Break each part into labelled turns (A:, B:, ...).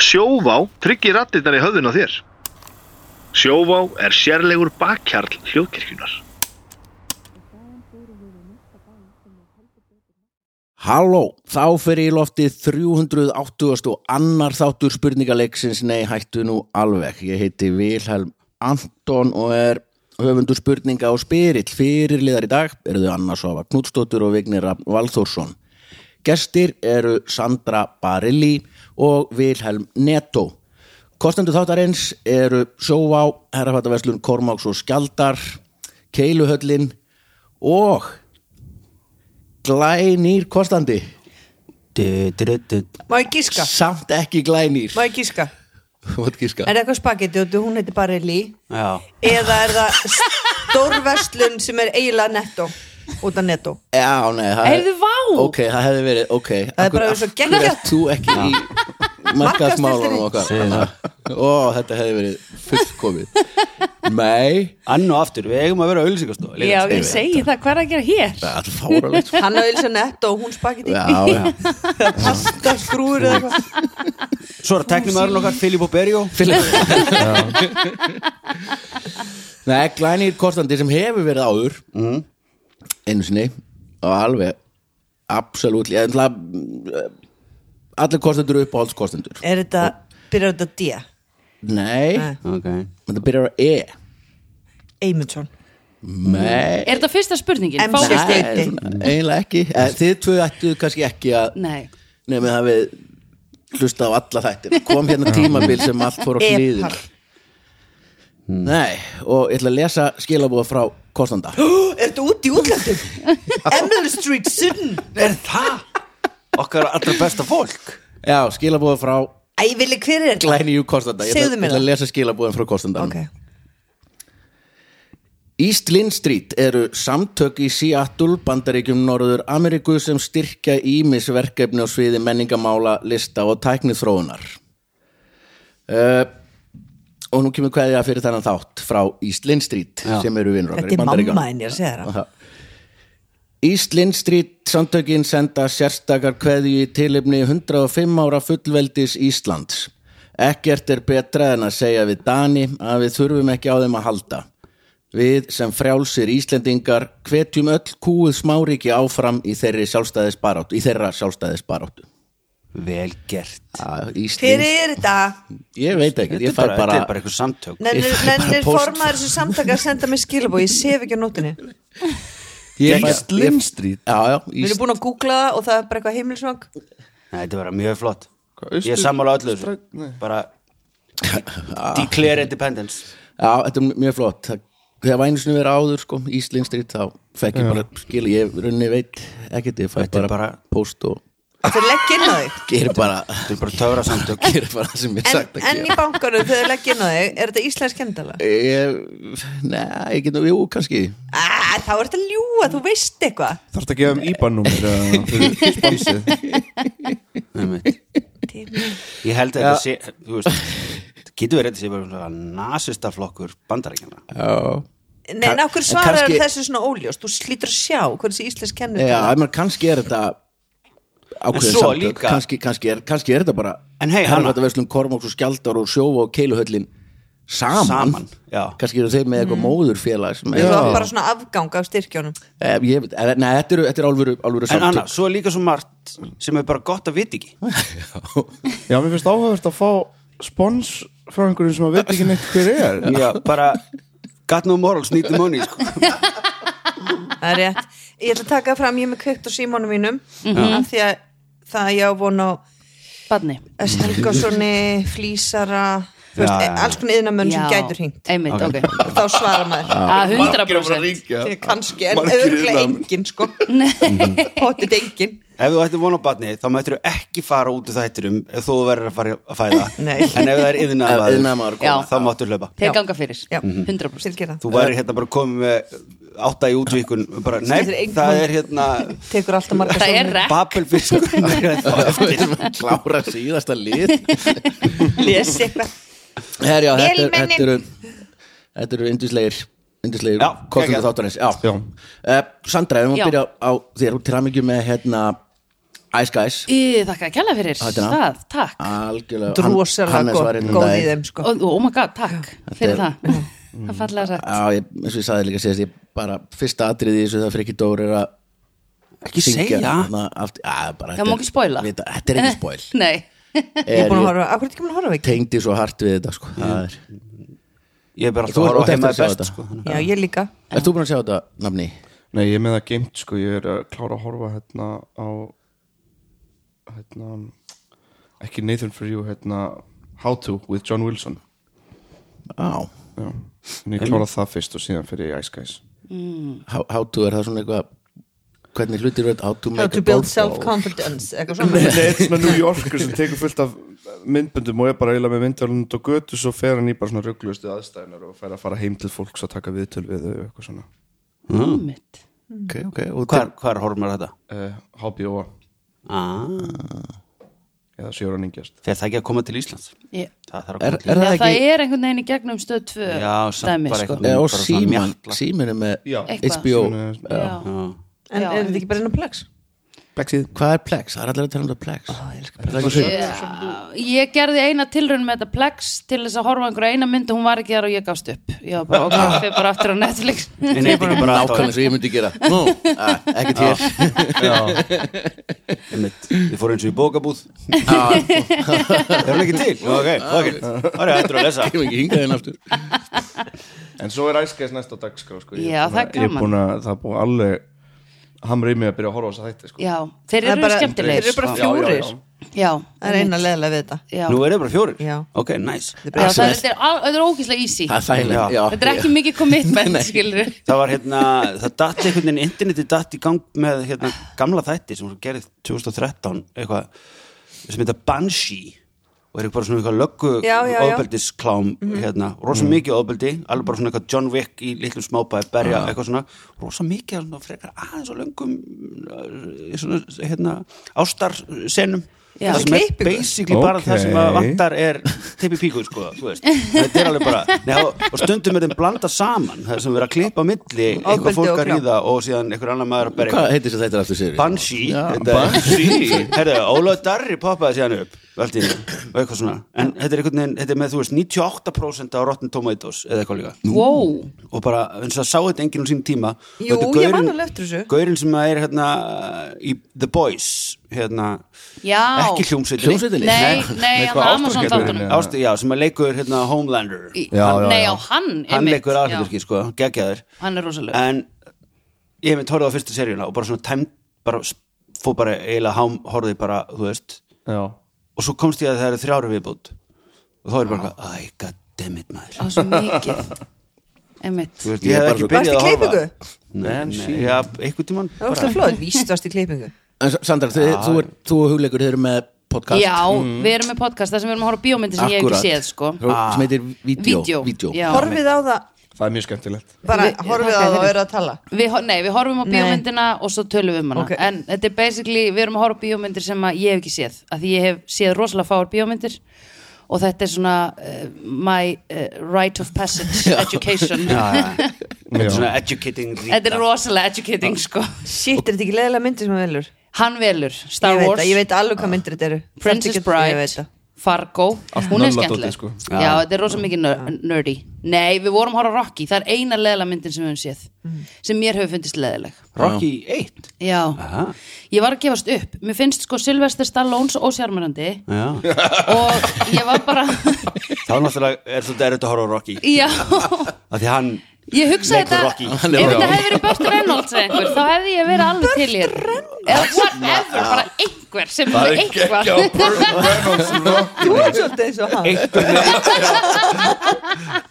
A: Sjóvá tryggir rattirnar í höfðun á þér. Sjóvá er sérlegur bakkjarl hljóðkirkjunar.
B: Halló, þá fer ég í loftið 380 og annar þáttur spurningaleiksins, nei hættu nú alveg. Ég heiti Vilhelm Anton og er höfundur spurninga og spyrill fyrirliðar í dag, eruðu Anna Svafa Knútsdóttur og Vignir Rafn Valþórsson. Gestir eru Sandra Barilli og Vilhelm Netto. Kostendur þáttarins eru Sjóvá, Herrafattarverslun, Kormáks og Skjaldar, Keiluhöllin og glænýr kostandi
C: Du, du, du, du.
D: Má ég gíska?
B: samt ekki glænýr
D: Má ég gíska?
B: Mátt giska.
D: Er það eitthvað spagetti og hún heitir bara Lí?
C: Já,
D: Eða er það stórverslun sem er eiginlega netto? Út af netto?
B: Já, nei, það
E: Heyrðu, vá!
B: Ok, það hefði verið, ok
D: Það er bara eins og geggjað.
B: ert þú ekki í markaðsmálunum okkar
C: Segðu það.
B: Ó, þetta hefði verið fullkomið Nei,
C: ann og aftur, við eigum að vera auðlýsingastofa
E: Já, ég segi það, hvað er að gera hér?
B: það er fáralegt Já,
D: Hann á eins og netto og hún spagetti
B: já,
D: Pasta skrúur eða eitthvað
C: Svo er teknum aðurinn okkar, Filippo Berjó
B: Filip Nei, glænýr kostandi sem hefur verið áður einu sinni og alveg absolutt allir kostendur eru uppáhaldskostendur
D: Er þetta, byrjar þetta D?
B: Nei,
D: Nei.
C: Ok
B: þetta byrjar á E
D: Eymundsson
B: Nei,
E: Er þetta fyrsta spurningin?
D: En-
E: Fá-
D: Nei.
B: Nei, eiginlega ekki Eh, Þið tvö ættu kannski ekki að
E: Nei.
B: nefnir það við hlusta á alla þættir kom hérna tímabil sem allt fór á hlýðin
D: E-par.
B: Nei, og ég ætla að lesa skilabóða frá kostanda
D: Er þetta út í útlandum? Emerald Street Sun
C: Er það? Okkar allra besta fólk
B: Já, skilabóða frá
D: Æ, villi, hver er þetta?
B: glæníu kostanda Ég ætla-
D: Segðu mér
B: ég ætla
D: það.
B: að lesa skilabóðan frá kostandanum
D: Ok,
B: East Lynn Street eru samtök í Seattle, bandaríkjum Norður Ameríku sem styrkja ímisverkefni á sviði menningamála, lista og tækniþróunar. Uh, og nú kemur kveðja fyrir þennan þátt frá East Lynn Street
C: Já.
B: sem eru vinnur okkar í
D: þetta er
B: bandaríkjum.
D: mamma henni að segja það
B: East Lynn Street samtökin senda sérstakar kveðju í tilefni 105 ára fullveldis Íslands. Ekkert er betra en að segja við Dani að við þurfum ekki á þeim að halda. Við sem frjálsir Íslendingar hvetjum öll kúið smáriki áfram í, þeirri sjálfstæðisbaráttu, í þeirra sjálfstæðisbaráttu.
C: Vel gert
B: Ah,
D: Hver
B: Íslands,
D: er þetta?
B: ég veit ekki,
C: Þetta
B: ég
C: er
B: fæ
C: bara,
B: bara,
C: þetta er bara eitthvað samtök
D: Nennir,
B: Ég fæ bara
D: nennir
B: póst.
D: formaður þessu samtaka að senda mér skilabó Ég sef ekki á nóttinni Við
B: ég fæ-
C: East Lynn
B: ég-
C: Street.
B: Já, já,
D: erum
B: East,
D: búin að googla það og það er bara eitthvað heimilsvang
C: Nei, þetta er bara mjög flott
F: Hvað, austur-
C: Ég er sammála öllu þessu.
F: stræk- nei.
C: Bara Declare independence
B: Já, þetta er mjög flott Það- Þegar var einu sinni verið áður sko, Íslinn strýtt þá fekk ég bara skil ég runni veit ekkert ég fæ
C: Þetta
B: bara,
C: er
B: bara
C: bara-
B: post og
D: Þeir leggja inn á þig
B: gerir bara
C: Þetta er bara töfra samtök
B: gerir bara það sem ég hef
D: En,
B: sagt að
D: en í
B: gera
D: bankanum þegar þeir leggja inn á þig Er þetta íslensk kendala?
B: ég, Nei, ég getum, jú, kannski
D: Ah, þá er þetta ljúa, þú veist eitthvað
F: Þarf að gefa um IBAN-númer eða fyrir sponsið
C: Einmitt. Ég held að
B: Já.
C: þetta sé Þú veist þetta Getur verið þetta sé bara svona nasista flokkur bandarækjana
B: Já,
D: Nei, en okkur
B: en
D: svarar
B: kannski-
D: þessu svona óljóst Þú slítur að sjá hvað þessi íslensk
B: já
D: kendala
B: man, kannski er þetta ákveðin
C: svo
B: samtök
C: líka-
B: kannski, kannski, er, kannski er þetta bara
C: En hey, Hanna.
B: Herfattarverslun, Kormáks og Skjaldar og Sjóa og Keiluhöllin saman,
C: Saman, já.
B: kannski eru þeir með eitthvað mm. móðurfélag sem
D: Þú
B: er,
D: var bara svona afgang af styrkjónum
B: Eh, ég veit, eh, nei, þetta eru, þetta eru alvöru, alvöru
C: En
B: samtök
C: annars, svo er líka svo margt sem er bara gott að vita ekki
F: Já, mér finnst áhugavert að fá spons frá einhverjum sem að veit ekki neitt hver er
C: Já, bara Got no morals, need the money sko.
D: Það er rétt Ég ætla að taka fram, ég er með kveikt á símónum mínum af Því að það ég á von á
E: Badni.
D: S. Helgarssoni, Flísara þú
C: Já,
D: veist,
C: já, já.
D: Alls konar yðnamenn sem
E: Já.
D: gætur hringt
E: Einmitt, ok.
D: Og þá svarar maður
E: Að 100%.
D: Þegar kannski, en
F: Margir
D: auðvitað
F: innan.
D: engin sko Hóttið engin
C: Ef þú ættir vona á batni, þá mættir þú ekki fara út úr þættirum ef þú verður að fara að fæða
D: Nei.
C: En ef það er
B: Ef iðnaðarmaður
C: yðnaðamaður
E: Já.
C: þá máttu hlaupa
D: Já.
E: Þeir ganga fyrir.
D: Já.
B: Mhm.
E: 100%.
D: Fylgir það
C: Þú væri hérna bara komið með átta í útvíkun bara,
D: Skiptir
C: Nei,
D: engu
C: það
D: máli.
C: er hérna
D: Tekur alltaf marga
E: Það er
D: sjónir.
E: rekk.
C: Babelfiskur
B: klára síðasta lið
D: Les eitthvað
B: Herjá, þetta, er-
D: Vélmennin.
B: þetta eru þetta eru yndislegir yndislegir
C: Já,
B: kostandi
C: geggjað.
B: þáttarins já.
F: Já.
B: Uh, Sandra, ef við má
E: Já.
B: byrja á þér til að mikið með hérna Ice Guys
E: Í, þakka kjalla fyrir
B: Þetta er
E: það, takk
B: Algjörlega hann- Hannes
D: drosalega
B: var hérna um
D: góð í
B: daginn.
D: þeim sko
E: og, og, oh my god, takk fyrir
B: er- Mm.
E: það Það er fallega sagt
B: Já, ég, eins og ég saði líka síðast ég bara fyrsta atriði í þessu það Friki Dór er að
C: Ekki segja.
B: þarna aft- Já, bara
E: Það má ekki spoila
B: Vita, Þetta er ekki spoil
E: Nei,
D: Ég er búin að
B: Er-
D: horfa, akkur er ekki búin að horfa
B: Ég
D: ekki?
B: tengdi svo hart við þetta sko Það er
C: Ég er bara
B: Þú
C: alltaf að
B: átt
C: horfa á
B: eftir
C: heima
B: að
C: er
B: sjá
C: best
B: þetta.
C: sko, þannig.
D: Já, ég líka
B: Ert þú búin að sjá þetta nafni?
F: Nei, ég er með það geimt sko, ég er að klára að horfa hérna á hérna ekki Nathan for you, hérna How to with John Wilson
B: Já,
F: Já, en ég klára það fyrst og síðan fyrir Ice Guys
B: How- how to er það svona eitthvað Hvernig hlutir verður how to make
D: How
B: a
D: to build
B: boat goal.
D: self-confidence eitthvað svona
F: Nei, þetta er svona New Yorker sem tekur fullt af myndböndum og er bara eiginlega með myndalund og götu svo fer hann í bara svona rugglustu aðstæðunar og fer að fara heim til fólks að taka viðtöl við þau og eitthvað svona
B: Mm.
E: ummitt
B: Ok, ok, og
C: Hvar, hvar horfum maður þetta?
F: uh, HBO
C: Ah,
F: eða Sjóran Ingjast
C: þegar það ekki að koma til Íslands
E: Ég-
C: Það þarf að
B: Er,
C: koma
B: er
E: Já,
B: það
E: það,
B: ekki
E: er einhvern veginn í gegnum stöð 2
C: Já, samt bara
E: sko.
C: einhvern-
B: Já,
C: bara
B: og
C: svona
B: síman,
C: mjatla.
B: símin er með
F: Já.
E: Eitthvað.
B: HBO
F: Síminn
E: Já.
C: til
D: En er þetta ekki bara ennum plex?
F: Blacksið
B: Hvað er Plex? Það er allir að tala um það Plex Er það ekki
E: Já.
B: hreint?
E: Ég gerði eina tilraun með þetta plex til þess að horfa á einhverja eina mynd og hún var ekki þar og ég gafst upp Já, bara, ok, fyrir bara aftur á Netflix
C: Nei, nei, þetta er bara
B: Nákvæmlega
C: alltaf
B: sem ég myndi gera Nú, ah, ekkert hér
C: einmitt. Ég fór eins og í bókabúð Er hún ekki til? Já, Ok, ok Það er hættur að lesa
B: Ég hef ekki hingað henn aftur
F: En svo er Ice Guys næst á dagskrá sko. Ég er
E: Já,
F: búin
E: það
F: að-
E: er
F: Ég er
E: gaman.
F: búin að það er búin að alveg hamra í mig að byrja að horfa á þess að þætti sko.
E: Já, þeir
D: Það er
E: eru
D: bara-
E: skemmtilegir
D: þeir eru bara
E: sko.
F: Já, já, já.
D: Fjórir?
E: Já,
D: Það er eina leðilega við þetta
E: já.
C: Nú er það bara fjórir?
D: Já.
C: Ok, nice
E: já, það er, þetta er, al- þetta er ógíslega easy
B: Það er þægilegt
C: Já.
B: já.
E: Þetta er ekki mikið commitment, skilur
C: Það var hérna, það datt einhvern veginn interneti datt í gang með hérna, gamla þætti sem voru gerðið 2013 eitthvað sem heita Banshee og er bara svona eitthvað löggu
D: Já, já, Mhm. já.
C: ofbeldisklám hérna, rosa mikið ofbeldi alveg bara svona eitthvað John Wick í litlum smábæði berja eitthvað svona, rosa mikið svona, frekar aðeins og löngum uh, svona, hérna, ástarsenum
E: Já.
C: það sem er
D: Klippingu.
C: basically bara
F: Ok.
C: það sem að vantar er teipi píku sko, þú veist þetta er alveg bara, nei, og, og stundum er þeim blanda saman, það sem verið að klippa á milli
D: Ofbeldi
C: eitthvað fólk
D: og
C: að
D: klám.
C: ríða og síðan einhver annar maður að berja
B: Hvað heitir þess að þetta er aftur sér?
C: Banshee
B: Já,
C: þetta er- Herðu, Ólaf Darri poppaði síðan upp allt í einu, og eitthvað svona en þetta er einhvern veginn, þetta er með þú veist 98% á Rotten Tomatoes eða eitthvað líka
E: Wow,
C: og bara, eins og það sá þetta enginn á sínum tíma og þetta
D: Jú,
C: er
D: ég man
C: gaurinn-
D: alveg eftir þessu.
C: gaurinn sem er hérna í The Boys hérna,
E: Já.
C: ekki hljómsveitinni
B: Hljómsveitinni?
E: Nei, nei,
F: Nei,
E: hann
F: hvað,
E: Amazon
F: ástargetinn,
E: þáttunum
F: ja.
C: Ástu, já, sem að leikur hérna Homelander
E: Í-
F: Já, já,
E: Nei,
F: já.
E: á hann
C: hann
E: einmitt.
C: leikur
E: Já.
C: aðhaldurki, sko, geggjaður
E: Hann er rosalega
C: en ég mynd horfði á fyrstu seríuna og bara svona tæm, bara s- fór bara eiginlega hám, horfði bara, þú veist
F: Já.
C: og svo komst ég að það eru þrjáru viðbútt og þá er bara eitthvað, æ, goddammit maður
E: á svo mikið einmitt
C: þú veist,
B: Ég
C: ég hef
B: er bara
C: ekki
B: svo-
D: Varst
C: byrjað
D: í
C: að horfa
D: klippingu?
C: Nei, nei, já, einhvern tímann
D: Það var alltaf flóð, víst varst í klippingu
B: En S- Sandra, þið, þú, er, þú og hugleikur, þið eru með podcast
E: já, við erum með podcast þar sem við erum að horfa á bíómyndir sem
B: Akkúrat.
E: ég hef ekki séð sko.
B: Þú- Sem heitir Vídeó
E: Vídeó, já.
D: Horfið á það,
F: Það er mjög skemmtilegt
D: bara
E: Við-
D: horfið á það og eru að tala
E: við, hor- nei, við horfum á
D: Nei.
E: bíómyndina og svo tölum við um hana
D: Ok.
E: en þetta er basically, við erum að horfa á bíómyndir sem að ég hef ekki séð, af því ég hef séð rosalega fáar bíómyndir og þetta er svona uh, my uh, right of passage education
C: þetta er svona educating Rita.
E: þetta er rosalega educating sko.
D: Shit, er þetta ekki leðilega myndir sem þú velur?
E: hann velur Star
D: ég veit,
E: Wars,
D: það, ég veit alveg hvað myndir þetta eru
E: Princess
D: Þetta getur- ég veit
E: Bride
D: það.
E: Fargo,
F: Allt
E: hún er
F: nölladótið,
E: skemmtileg
F: sko.
E: já, þetta er rosa mikið ner- nerdy nei, við vorum að horfa á Rocky, það er eina leðla myndin sem við höfum séð,
D: Mm.
E: sem mér hefur fundist leðileg
C: Rocky 1
E: já, ég var að gefast upp mér finnst sko Sylvester Stallone svo ósjarmerandi
C: já.
E: og ég var bara
C: þá náttúrulega er svolítið erut að horfa á Rocky
E: já,
C: af því hann
E: ég hugsaði
C: Leikur Rocky.
E: þetta
C: Hann
E: ef þetta hefði verið Burt Reynolds eða einhver, þá hefði ég verið alveg til í þetta eða whatever, bara einhver sem er eitthvað
D: Þú er svolítið eins og hann
C: einhver með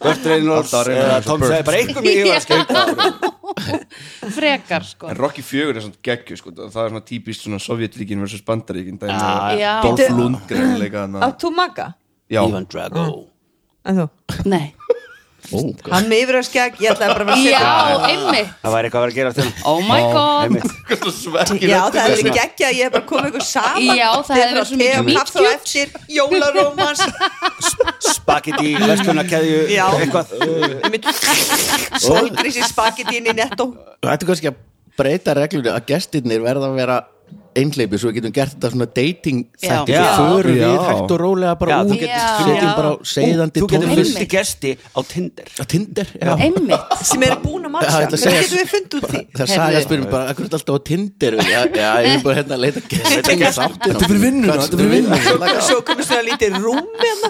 C: Burt Reynolds
F: Alltaf Reynolds
C: eða
F: og
C: Tom
F: Burt.
C: Sæði bara einhver með
E: Já.
C: yfir að skemmta
E: frekar sko
F: En Rocky 4 er svona geggju sko. Það er svona típist svona Sovjetríkin versus Bandaríkin dæmi. um
C: Ah,
E: já.
F: Dolph
D: Bíddu.
F: Lundgren leika
D: Á
F: hana.
D: þú maga?
F: Já,
C: Ivan Drago
D: En þú?
E: nei,
D: Hann með yfir að skegg, ég ætlaði bara að fara að setja
E: já, einmitt
C: það væri eitthvað að vera að gera til
E: oh my god
C: einmitt
D: Já, það hefði verið geggja, ég hef bara komið ykkur saman
E: Já, það hefði verið svo mikið
D: mikið
E: mýkjút.
D: Kaffi á eftir, jólarómans
C: spagetti, verslunakeðju
D: Já.
C: eitthvað
D: Sólgrísi spagettín í nettó
B: Þú ætti kannski að breyta reglunni að gestirnir verða að vera einhleipi svo við getum gert þetta svona dating þætti,
E: Já.
B: við
C: Já.
B: förum
F: Já.
B: við hægt og rólega bara
C: Já, þú
B: út,
E: getur-
B: setjum
E: Já.
B: bara á seiðandi
C: Þú getur
E: tónlist.
C: fyrsti gesti á Tinder
B: á Tinder já.
E: einmitt
D: sem eru búin að
B: Já,
D: matcha
B: ég ætla að
D: hvernig
B: segja-
D: getum við fundið út því
B: það sagði að spyrjum bara, akkur er þetta alltaf á Tinder já, já, ég er bara hérna að leita gesting þetta
F: Þetta er fyrir vinnuna, þetta er fyrir vinnuna.
D: svo komum svona lítið rúmi hérna.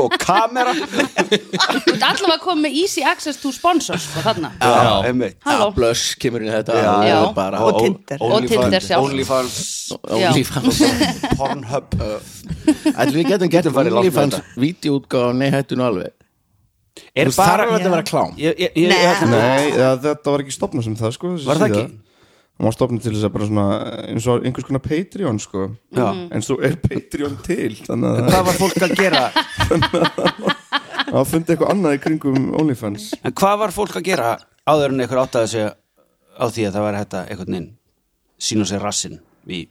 C: og kamera
E: Þú ert allavega að koma með easy access to sponsors sko, þarna
C: Já, einmitt
E: Halló
B: blöss kemur inn í þetta
C: Já.
B: og
E: Já.
B: bara
D: Og Tinder.
C: Ó-
E: Og Tinder
C: OnlyFans-
E: sjálf.
C: OnlyFans,
E: Já.
B: OnlyFans
C: Pornhub
B: Ætlum við getum gert
C: Getum farið langt með
B: OnlyFans
C: þetta.
B: vídeoútgáð nei, hættu nú alveg
C: Er
B: Þú þarf ekki að vera klám.
C: Ég- ég- ég- ég-
D: Nei.
F: Nei, ja, þetta var ekki stopnað sem það sko þessi
C: Var það
F: síða.
C: ekki?
F: Hún var stopnað til þess að bara svona eins og einhvers konar Patreon sko
C: Já.
D: Mhm.
F: En svo er Patreon til Þannig að
C: Hvað var fólk að gera
F: það fundi eitthvað annað í kringum OnlyFans
C: En hvað var fólk að gera áður en einhver áttaði sig á því að það var þetta einhvern veginn sín og sér rassin í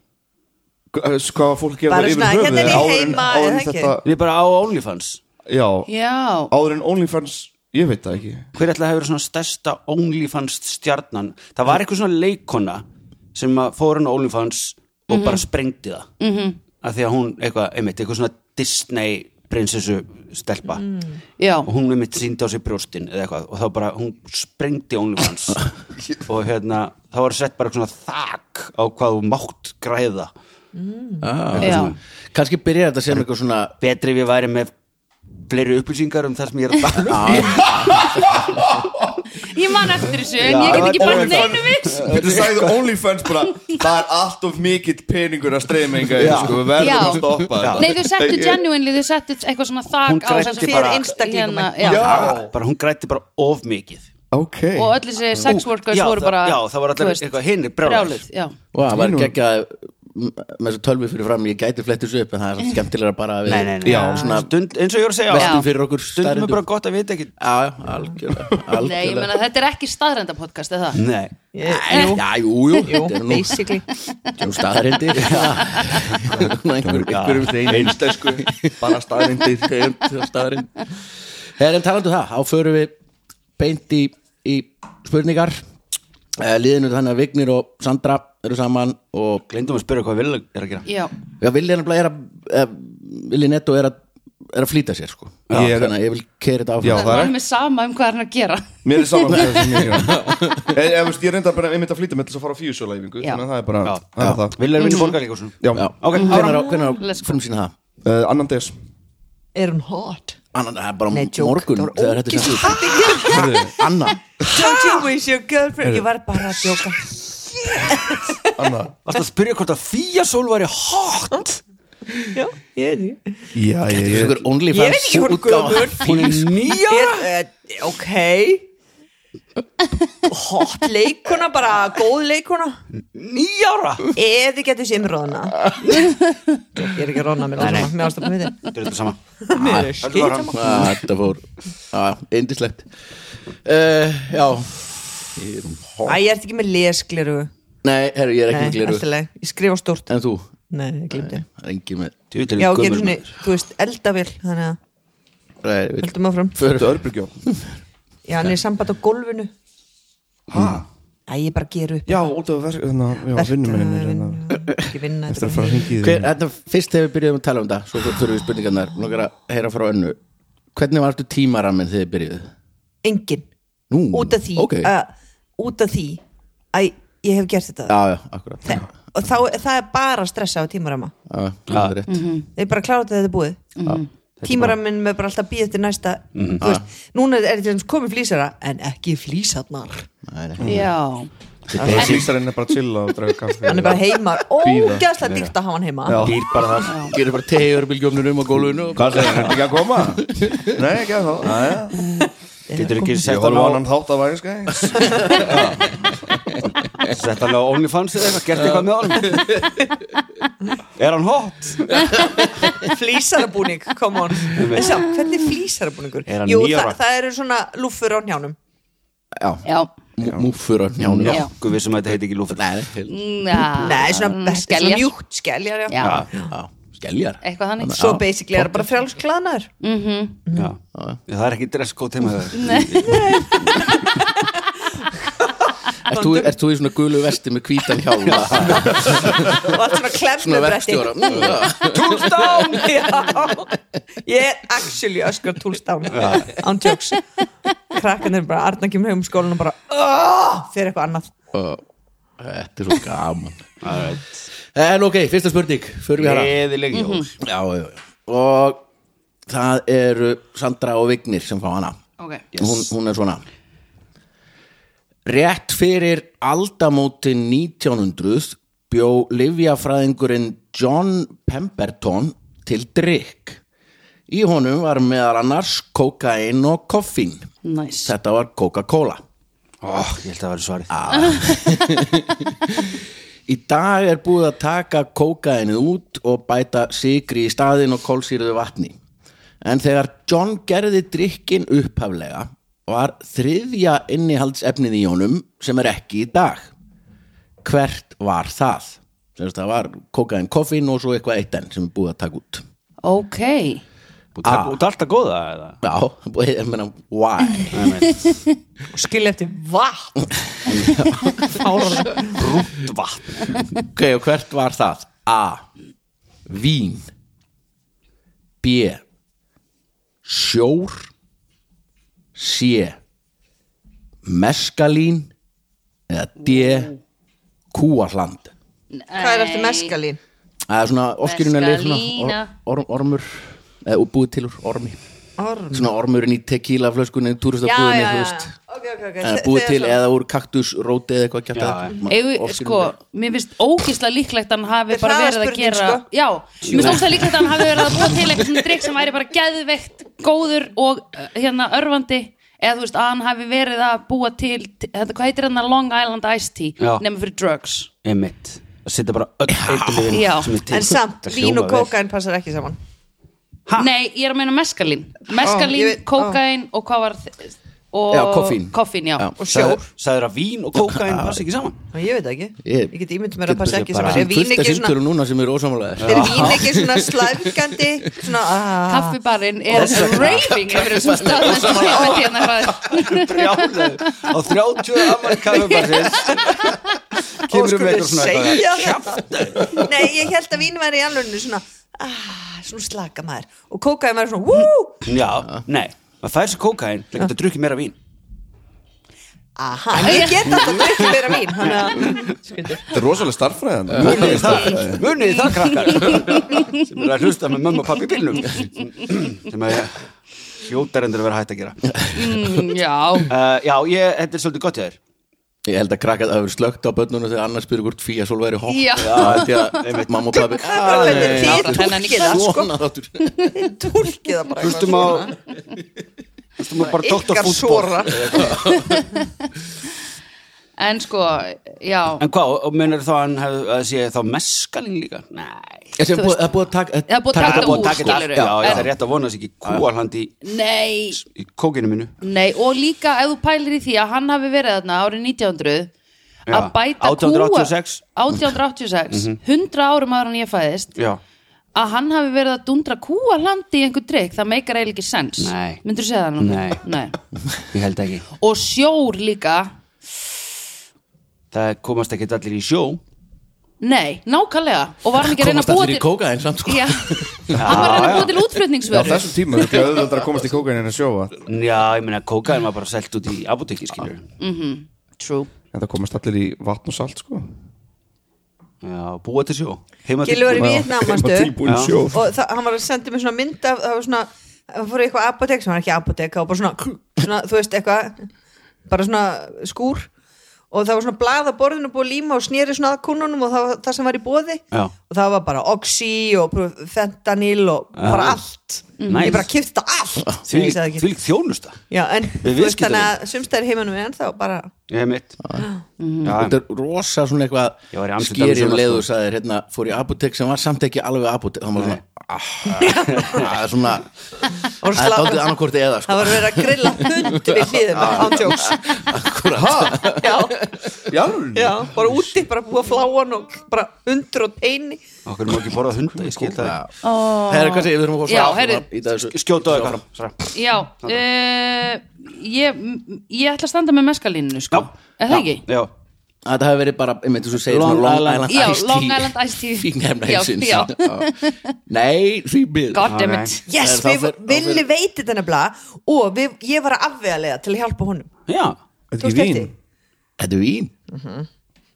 F: Hva- eh, sko, Hvað var fólk að gera
D: Bara
F: það
D: svona,
F: yfir höfuð
D: hérna er ég
F: áður en-
D: heima,
F: áður
D: eða
F: en
D: ekki?
F: þetta
C: Ég er bara á OnlyFans
F: Já,
E: Já,
F: áður en OnlyFans Ég veit það ekki
C: Hver ætla að hefur svona stærsta OnlyFans stjarnan Það var eitthvað svona leikona sem að fór hann á OnlyFans og bara sprengdi það mm -hmm. að því að hún eitthvað, einmitt, eitthvað svona Disney prinsessu stelpa
E: já
C: og hún einmitt síndi á sig brjóstin eða eitthvað og þá bara, hún sprengdi OnlyFans og hérna, þá var sett bara svona þak á hvað þú mátt græða
E: Já.
B: kannski byrjar þetta sem eitthvað svona
C: betri ef ég væri með fleiri upplýsingar um það sem ég er að tala um
E: Ég man eftir þessu en ég get ekki bara neinu við
F: Þetta sagði OnlyFans bara Það er allt of mikill peningur að streyma enga
C: Já.
F: sko, Við
E: Já.
F: verðum að stoppa þetta.
E: Nei, þau settu
F: Ég-
E: genuinely, þau settu eitthvað svona
C: Hún
E: þak á
C: græddi
E: þessum-
C: bara-
E: hérna,
D: Fyrir
E: já.
C: bara hún grætti bara of mikið
F: Ok
E: og öll þessi sex workers
C: já,
E: voru
C: það-
E: bara
C: já, það var allir
E: þú veist,
C: eitthvað hinir brjálaðir.
E: brjáluð já.
B: og það var ekki að með þessu tölvi fyrir fram, ég gæti flett þessu upp en það er samt skemmtilega bara að við
C: nei, nei, nei.
B: Já, svona
C: Stund, eins og ég var að segja
E: Já.
B: veltum fyrir okkur
C: stundum er
B: staðreyndir.
C: bara gott að vita ekki
B: Já, já, algjörlega,
E: Nei, ég
B: algjörlega.
E: meina þetta er ekki staðrænda podcast eða það
C: nei,
B: Nei, já, jú, jú, þetta er nú,
D: basically
B: þetta er nú staðarindir einhver, einhverjum þeim einstæsku bara staðarindir þeim staðarind Þegar en talandu um það, þá förum við beint í, í spurningar Eh, liðinu þannig að Vignir og Sandra eru saman og
C: glindum að spyrja hvað vil er að gera
E: Já,
B: Já, Vilja nefnilega er að Vilja netto er að, er að flýta sér sko
F: Já.
B: ég er, Þannig að ég vil keira þetta áfram
F: Já,
E: það
F: það
E: er
F: er
E: alveg sama um hvað hann er að gera
F: Mér er saman með það sem ég er Ég, veist, ég reynda bara einmitt að flýta með til þess að fara á fjúsjólæfingu
E: Já.
F: Þannig að það er bara
C: Já.
F: það er það.
C: vil er að vinna borgarleikursunum
F: Já.
B: Já.
C: Ok,
B: Hvenær á,
C: áfram.
B: hvenær á
E: Let's go.
B: frum sína það?
F: Uh, Annan des
D: er hún hot
B: Annan, það er bara
D: Nei,
B: á
D: joke.
B: morgun
D: Það var
B: þegar þetta er
D: ógeðslega
B: sett upp. Anna,
D: don't you wish your girlfriend ég var bara að djóka
F: Anna
C: varst að spyrja hvort að fýja sól væri hot
D: já, ég veit
F: Já, ég,
B: þessu
F: ég,
B: ykkur OnlyFans
D: Ég veit ekki hún
B: útgáfa.
D: gömur.
C: hún er nýja
D: ekki Eh, ok hot leikuna bara góð leikuna
C: nýjára
D: ef þið getur séð mér róðna ég er ekki að róðna mér
C: Nei, nei.
D: ástæðan mér ástæðan með
C: þetta er þetta sama
D: þið mér er
C: Haldið
D: skýt
C: áfram.
D: saman
B: Ah, Þetta fór ah, Indislegt uh, Já Ég er um hó-
D: Æ, ég ert ekki með lesgliru
B: Nei, herru, ég er ekki
D: Nei,
B: með gliru
D: allt í lagi. Ég skrifa stórt
B: En þú,
D: Nei, ég glimti
B: engin með
C: Djöfull er
D: Já,
C: ég
D: og gerum
C: gömul
D: svona,
C: maður.
D: þú veist, eldavill Þannig að,
B: Nei, við-
D: heldum áfram
F: Þetta er örbyggja
D: Já, hann er samband á gólfinu
F: Hæ?
D: Æ, ég bara ger upp
F: Já, út af verk Þannig að
D: Verkefni,
F: vinnum minni er hérna.
D: vinnu, Ekki vinna
F: Eftir að fara að hringi í
B: Hver, þetta, fyrst þegar við byrjuðum að tala um þetta svo þurfum við spurningarnar, nokkar að heyra frá önnu hvernig var þetta tímaraminn þegar þið byrjuðu?
D: Engin,
B: Nú,
D: út af því uh,
B: ok.
D: að- Út af því Æ, ég hef gert þetta
B: Já, já, akkurat
D: Þe- Og þá, það er bara að stressa á tímarama
B: Já, það er rétt
D: Þeir bara klára þetta þetta er búið Tímaraminn með bara alltaf býð eftir næsta Þú veist, núna er þetta sem komið flýsara En ekki flýsarnar
B: Nei,
C: Mm.
B: nei.
E: Já,
F: það Slýsarinn er bara að chilla og draga kaffi
D: Hann er bara heima,
F: Bíða.
D: ógæðslega dýrt að hafa hann heima
F: Já.
C: býr bara það
B: Gerir bara tegjur bylgjófnir um á gólfinu og...
F: Hvað segir, er þetta ekki að koma? Nei, ekki að þá Jæja.
C: getur ekki
F: Ég
C: sett
F: horfum á annan
C: alveg
F: þátt af væri skæ
C: á sett alveg á OnlyFans eða eitthvað gert eitthvað með honum er hann hot
D: flýsarabúning, come on en sjá, hvernig er flýsarabúningur?
C: Er hann
D: Jú,
C: níu ára?
D: það, það eru svona lúffur á njánum
B: Já,
E: já
B: mú- múffur á njánum
E: Já.
C: Guð vissum um að þetta heiti ekki lúfur
B: Nei, heil-
E: Já,
D: Nei, svona, svona
E: Ah, skeljar
D: mjúkt skeljar, já.
E: Já,
B: já, skeljar
E: eitthvað þannig
D: Svo basically er það bara frjálsklaðnaður
C: Já. Já, það er ekki dresscode heima hjá þér.
B: Er Ert þú, ert þú í svona gulu vesti með hvítan hjálma
D: og allt svona
B: Svona
D: klemmubretti
B: verkstjóra Mm, já.
D: Túlstán Já. Ég er actually öskra túlstán Án tjóks Krakkan er bara, Arna kemur heim um skólan og bara "Ah," Fyrir eitthvað annað
B: Og Þetta er svo gaman En ok, fyrsta spurning Förum við hana
C: Gleðileg jól
B: já, já, já. Og það eru Sandra og Vignir sem fá hana
E: Ok.
B: hún, hún er svona Rétt fyrir aldamótin 1900 bjó livjafræðingurinn John Pemberton til drikk Í honum var meðal annars kokain og koffín
E: Næs.
B: Þetta var Coca-Cola
C: Ó, Ég held að það var svarið
B: Ah. Í dag er búið að taka kókainið út og bæta sigri í staðin og kólsýruðu vatni. En þegar John gerði drikkin upphaflega var þriðja innihaldsefnið í honum sem er ekki í dag. Hvert var það? Semst, það var kókain koffín og svo eitthvað eitt enn sem er búið að taka út. Ah.
E: Ok.
C: Búið að taka út allt að góða eða?
B: Já, búið, ég meina, why?
D: Og skilja eftir vatn Fárlega
C: Rúmt vatn
B: Ok, og hvert var það? A. Vín B. Sjór C. Meskalín eða D. Kúahland
D: Hvað er eftir meskalín?
B: Það er svona, oskirinn er leið svona
E: Meskalína.
B: or, or, ormur eða búið til úr ormi
D: Orm
B: svona ormurinn í tequila flöskunni túristabúðinni, þú veist
D: Ok, ok, ok
B: Eh, búið til eða úr kaktusróti eða eitthvað kjarta
E: Egu, sko, mér finnst ógislega líklegt að hann hafi
D: Þetta er
E: bara verið að
D: hraðaspurning,
E: gera
D: sko.
E: Já, mér finnst ógislega líklegt að hann hafi verið að búa til eitthvað svona drikk sem væri bara geðveikt góður og uh, hérna örfandi eða þú veist að hann hafi verið að búa til þetta, hvað heitir hann Long Island Iced Tea
C: Já.
E: nema fyrir drugs
C: Emitt Að setja bara öll eiturlyfin
E: Já.
C: sem er til.
D: En samt,
C: Það
D: vín
C: hljómar
D: og
C: vel.
D: kókain passar ekki saman
C: Ha?
E: Nei, ég er að meina meskalín
D: Ó,
E: Meskalín,
D: ég veit- ó.
E: kókain og hvað var þ- og
B: Já, koffín.
E: koffín já.
B: Já.
D: Og sjór
C: Sagður sagður að vín og kókain passa ekki saman
D: Ná, Ég veit það ekki,
B: Ég-
D: ég get ímyndum mér að passa ekki
C: bara-
D: saman Er vín
B: fullt af
D: ekki svona
B: símtölum núna sem eru ósamálaðir
D: Er vín ekki svona slæfgandi Svona ah.
E: Kaffibarinn er raving yfir þessum staðum sem þú hefur hérna hraðir.
C: Brjálaður Á um 30 afmæli kaffibarsins Kemur um eitthvað svona eitthvað
D: segja það Nei, ég held að vín væri í alveg svona ah, svona slaka maður og kókaði maður svona wú,
C: Já, nei, maður fær sér kókain Það getur að drukki meira vín
D: aha, en ég get alltaf drukkið meira vín þannig að
F: Þetta er rosalega starffræðan
C: Munið þið það, munið þið það krakkar sem eru að hlusta með mömmu og pappi í bílnum sem að hljótar endur að vera hægt að gera
E: Mm, Já,
C: uh, Já, ég, þetta er svolítið gott hjá þér
B: Ég held að krakkað hafi verið slögt á börnunum þegar annars spyrir hvort fíja sól væri hótt
E: Já.
B: Mamma og pabbi
D: Þið
E: já, þennan í
D: túlkið það sko,
B: Svona þáttur
D: túlkið það bara
C: Hlustum á Hlustum á bara Dr.
D: ykkar
C: Fútbol
D: sora
E: en sko já,
C: En hvað, og munir þá að hann hef, að sé þá meskalinn líka? Nei
B: Ég sem búið- Það er búið að taka
E: Það er búið að taka
C: Það er
E: þetta
C: búið
E: úr,
C: að taka þetta allt
E: skilurðu.
C: Já, ég
E: En-
C: ætla rétt að vona þess ekki kúalhandi í,
E: nei,
C: í kókinu mínu
E: nei og líka ef þú pælir í því að hann hafi verið þarna árið 1900 að
C: Já,
E: bæta
C: 1886.
E: kúa 1886 100 árum áður en ég fæðist
C: Já
E: að hann hafi verið að dundra kúa landi í einhver drikk, það meikar eiginlega ekki sens
C: Nei.
E: myndur segja það núna?
C: Nei. Ég held ekki
E: og sjór líka
C: Það komast ekki allir í sjó
E: nei, nákvæmlega og var hann ekki að reyna
B: Komast
E: að búa
B: allir í
E: til
B: kókaðin samt sko
E: Já, hann var að reyna að búa til
F: Á
E: útflutningsvörur
F: þessum tíma þetta er auðvitað að komast í kókain en að sjóa
C: Já, ég meina, kókaðin var bara selt út í apotekki, skilur
E: True
F: En það komast allir í vatn og salt sko
C: Já, búa til sjó Heima
D: Gilvi var í
C: tilbúin.
D: Vietnam, manstu?
F: Heima tilbúin í sjó
D: og það, hann var að senda mér svona mynd af það var svona, það fór í eitthvað apotek sem var ekki apotek, það var bara svona, svona þú veist eitthvað, bara svona skúr og það var svona blað á borðinu búið að líma og snýri svona að kunnunum og það, var það sem var í bóði
C: Já.
D: og það var bara oxy og pr- fentanyl og bara allt
C: Mhm.
D: ég bara kipti þetta allt
C: Því
D: Ég sagði ekki.
C: því þjónusta
D: Já, en
C: Við
D: þú veist
C: viðskiptavin.
D: þannig að sumstæðir heimanum er ennþá bara
C: Ég hef mitt
B: Þetta er rosa svona
C: Ég var í
B: eitthvað
C: Amsterdam í
B: skýri um
C: sumar,
B: leiðu
C: sko.
B: sagðir hérna fór í apotek sem var samt ekki alveg apotek Það var svona ah, Það er svona
D: Og
B: Það er
D: slá-
B: daldið annarkorti eða
D: það
B: sko
D: var verið að grilla hund við hliðum ándjóks já
F: Já,
D: Já, bara úti, bara búa fláan og bara undur og teini
C: Okkur má ekki borða hunda, ég skil það
B: Herri, hvað segir, við þurfum að fá
E: Já,
B: svona áfram
E: heyrðu.
B: í þessu.
C: Skjóta á okkar Sara.
E: Já, eh, uh, ég, ég ætla að standa með meskalínu sko, er það ekki?
C: Já,
B: að þetta hafi verið bara, ég meint þú segir
C: Long
B: svona Long
C: Island-
B: Island
E: Já,
B: Ice
E: Long Island Iced Tea. Já,
B: Fíknefnaheimsins
E: já.
B: Nei, því miður
E: God damn it
C: Alright.
B: Það er
D: yes, við,
B: þá fyrir-
D: Villi veitir þetta nefnilega og við, ég var að afvegalega til að hjálpa honum
C: já,
F: Þetta
D: Tókstu
F: er ekki vín
D: eftir?
B: Þetta er vín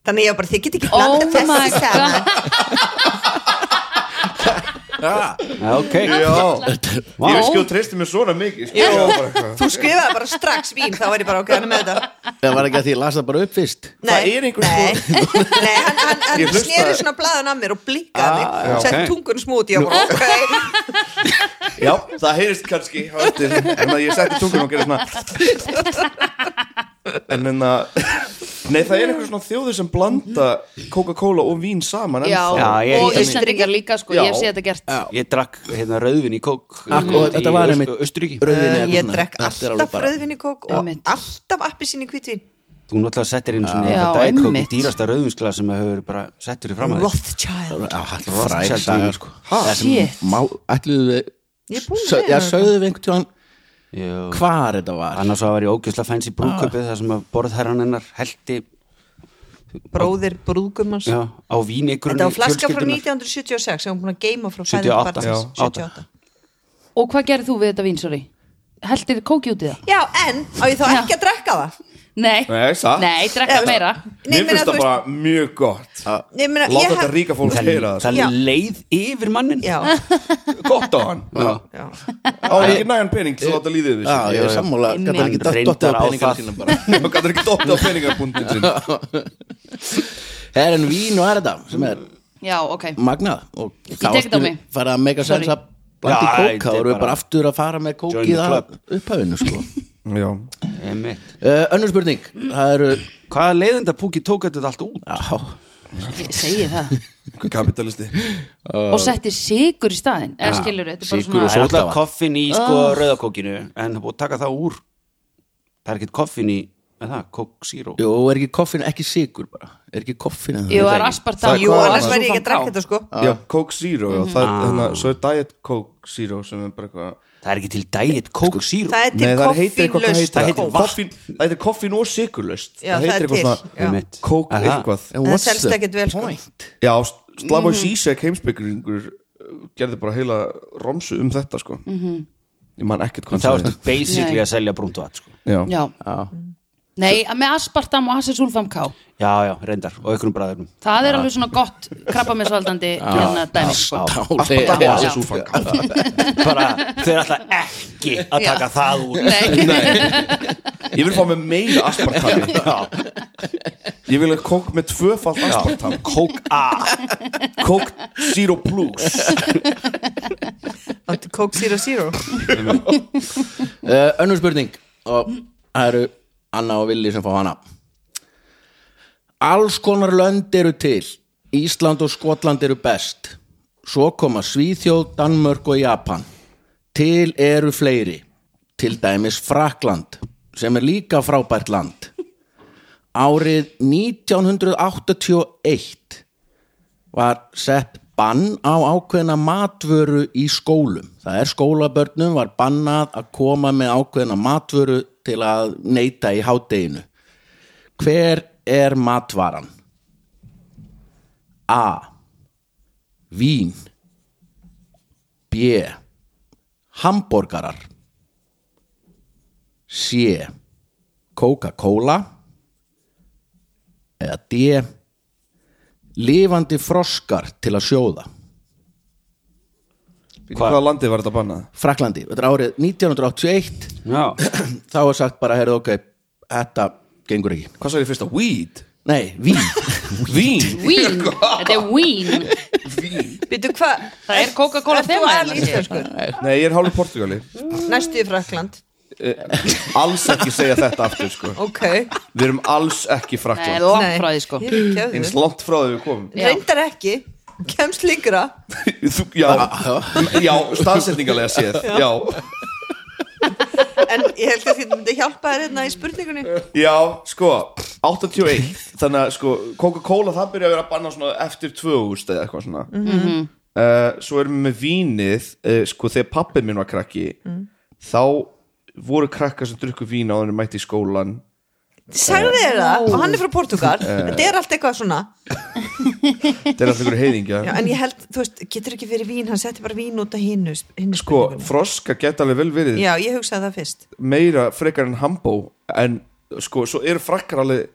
D: þannig ég var bara, þið get ekki
E: Oh
D: blandað
E: my
D: þessu saman
E: god
C: Já, ok
F: Ah, Já,
C: Vá.
F: ég veist ekki þú treystir mér svona mikið sko.
D: Já.
F: Já, bara eitthvað.
D: þú skrifaði bara strax vín þá var ég bara ok, hann er með þetta
B: Það var ekki að því að lasa það bara upp fyrst
D: Nei,
F: er einhver
D: nei, nei, hann, hann,
F: Ég
D: hann
F: hlustaði-
D: sneri svona blaðan að mér og blikkaði
C: Ah,
D: ah,
C: já,
D: mig sett
C: ok.
D: okay. tungun smúti og bara ok
F: Já, það heyrist kannski á eftir, En að ég setti tungun og gerði svona En en að Nei, það er einhver svona þjóður sem blanda Coca-Cola og vín saman
E: Já,
F: ennþá.
C: Já, ég-
E: og
C: ég-
E: Íslendingar líka sko, ég
F: Já.
E: hef séð þetta gert
C: Ég drakk hérna rauðvin í kók
B: Akkur,
C: í
B: þetta var
C: Öst-
B: einmitt
C: Austuríki
B: rauðvín
E: Eh,
B: eða
D: ég
B: eitthvað
D: drekk
B: svona. Þetta er alveg
D: alltaf
B: bara-
D: rauðvinni kók og
E: Einmitt.
D: alltaf appisín í hvitvín
C: Þú náttúrulega settir inn svona
E: Já,
C: þetta dækók í
E: einmitt.
C: dýrasta rauðvinsglas sem hefur verið bara settur í fram að þér.
D: Rothschild
B: Já, hann
C: Rothschild
B: fræg saga
C: vín.
B: sko
F: Ha?
B: Það sem
E: Shit.
B: má, ætluðu
D: Ég er
B: við
D: búin að
B: Sö-
D: segja
B: Já,
D: þetta.
B: sögðu við einhvern tíðan
C: Jú.
B: hvar þetta var
C: Annars var ég ógjörslega fæns í brúköpið þar sem að borðherran hennar heldi
D: bróðir brúðgumans
C: já, á vínigrunni
D: þetta var flaska frá
C: fjölskyldunnar.
D: 1976 sem hún búin að geima frá
C: 78,
D: fæðingu
C: já,
D: barnsins, 78
E: Og hvað gerir þú við þetta vín, sorry? Heldir kóki út í það?
D: já, en á ég þá ekki að drekka það
E: Nei,
F: Nei, satt.
E: Nei drekka
D: Já.
E: meira
D: Nei,
F: Mér
D: meina,
F: finnst
D: þú
F: það bara mjög gott
D: Nei, meina,
F: Láta
D: ég
F: þetta
D: hef-
F: ríka fólk
C: Það,
F: heyra það sko.
C: það
D: Já.
C: leið yfir mannin
D: já,
F: Gott á hann
C: Já.
D: já.
F: Á hann ekki nægan pening til að láta líðið við
B: Já,
F: sig
B: ég er sammála
E: Einmitt.
B: Gæti ekki
C: Reyndar
B: dottið á
C: á
B: peningar
C: það.
B: sína bara
F: Hann gætur ekki dotta á peningarbúndin sin
B: Það er en vín og er þetta sem er
E: Já, ok
B: magnað og þá
E: tek þetta á
B: aftur
E: mig.
B: farið að mega
E: Sorry.
B: sensa blandi
C: Já,
B: kók,
C: þetta
B: þá
C: er
B: erum við
C: bara-
B: bara aftur að fara með kók
C: Join
B: í
C: the
B: það
C: club.
B: upphafinu sko
F: Já
C: Einmitt.
B: uh, Önnur spurning, það eru
C: Hvaða leiðinda púki tók þetta allt út?
B: Já,
E: Ég segi það
F: Kapitalisti
E: Og setti sigur í staðinn Eða skilur þetta er bara
B: sykur og
E: svona
B: sóda.
C: Það er alltaf
B: vatn.
C: koffin í sko oh. rauðakókinu en það er búið að taka það úr Það er ekkert koffin í er það, kók síró
B: jú, er ekki koffin, ekki sigur bara Er ekki koffin eða
E: Jú,
B: það?
E: það er aspartam
D: jú, annars væri ég ekki að drekka þetta sko
F: Já, Coke Zero já, það
D: Mm.
F: er, hérna,
D: Ah.
F: Svo er Diet Coke Zero sem er bara eitthvað
C: Það er ekki til dægit
B: Sko,
C: kók síró
D: það er
F: Nei,
D: til
F: það heitir eitthvað hvað
D: koffínlaust
F: heitir
C: Það heitir
F: það?
D: kók.
F: Koffín- Það heitir koffín og sykurlaust
D: Já, það er til, já.
C: Einmitt.
F: Coke
C: Er það?
F: eitthvað
B: En
D: það
B: what's
D: selst
B: the
D: ekkert vel, sko.
B: point?
F: Já, Slavoj
D: Mhm.
F: Zizek heimspekingur uh, gerði bara heila romsu um þetta sko
D: Mhm.
F: Ég man ekkert hvað
C: Það
F: hann
C: ertu
F: sagði.
C: basically
E: Nei.
C: að selja brúnt vat sko.
F: Já,
E: Já, nei, að með aspartam og asesulfamká
C: Já, já, reyndar, og einhvernum bræðurnum
E: Það er alveg svona gott krabbamissvaldandi hérna dæmi sko
B: Stáli
F: það
E: Já.
F: er súfang
C: bara, Þau er alltaf ekki að taka það úr
E: Nei,
F: Ég vil fá með meira aspartam Ég vil að kók með tvöfalt aspartam
C: Kók A
F: Coke Zero Plus
D: Áttu Coke Zero Zero
B: Uh, önnur spurning og það eru Anna og Villi sem fá hana Alls konar lönd eru til Ísland og Skotland eru best Svo koma Svíþjóð, Danmörk og Japan Til eru fleiri Til dæmis Frakland sem er líka frábært land Árið 1981 var sett bann á ákveðna matvöru í skólum. Það er skólabörnum var bannað að koma með ákveðna matvöru til að neyta í hádeginu. Hver er matvaran? A. Vín B. Hamborgarar C. Coca-Cola eða D lifandi froskar til að sjóða
F: Hvaða landi var þetta bannað?
B: Fraklandi, þetta er árið 1981
C: Já,
B: þá er sagt bara, heyrðu ok þetta gengur ekki
F: Hvað sagði ég fyrst að weed?
B: nei, vín,
F: Vín?
E: Vín, þetta er vín
D: Býtu hvað
E: Það er Coca-Cola þema hérna, sé ég.
D: hérna
F: Nei, ég er hálfur portugali
D: Næstu í Frakland
F: Alls ekki segja þetta aftur sko
D: Ok
F: Við erum alls ekki
E: Nei,
F: frakland
E: langt frá því sko
D: Ég er ekki að
F: Eins
D: því.
F: langt frá þegar við komum
E: Já.
D: Reyndar ekki Kemst líkra
F: Þú, Já, já staðsetningarlega séð Já,
D: En ég held að þetta myndi hjálpa þér hérna í spurningunni
F: já sko 81, þannig að sko Coca-Cola það byrja að vera að banna svona eftir 2000 eða eitthvað svona uh, Svo erum við með vínið uh, sko þegar pappið minn var Mm. krakki þá voru krakkar sem drukku vín á þenni mætti í skólan
D: sagði þér það og hann er frá Portugal
F: Eh.
D: þetta er allt eitthvað svona
F: þetta er alltaf einhverju heiðingja
D: Já, en ég held, þú veist, getur ekki verið vín hann setti bara vín út af hinnu hinu
F: sko,
D: spurningunni.
F: froska geta alveg vel verið
D: já, ég hugsaði það fyrst
F: meira frekar en hambó en sko, svo eru frakkar alveg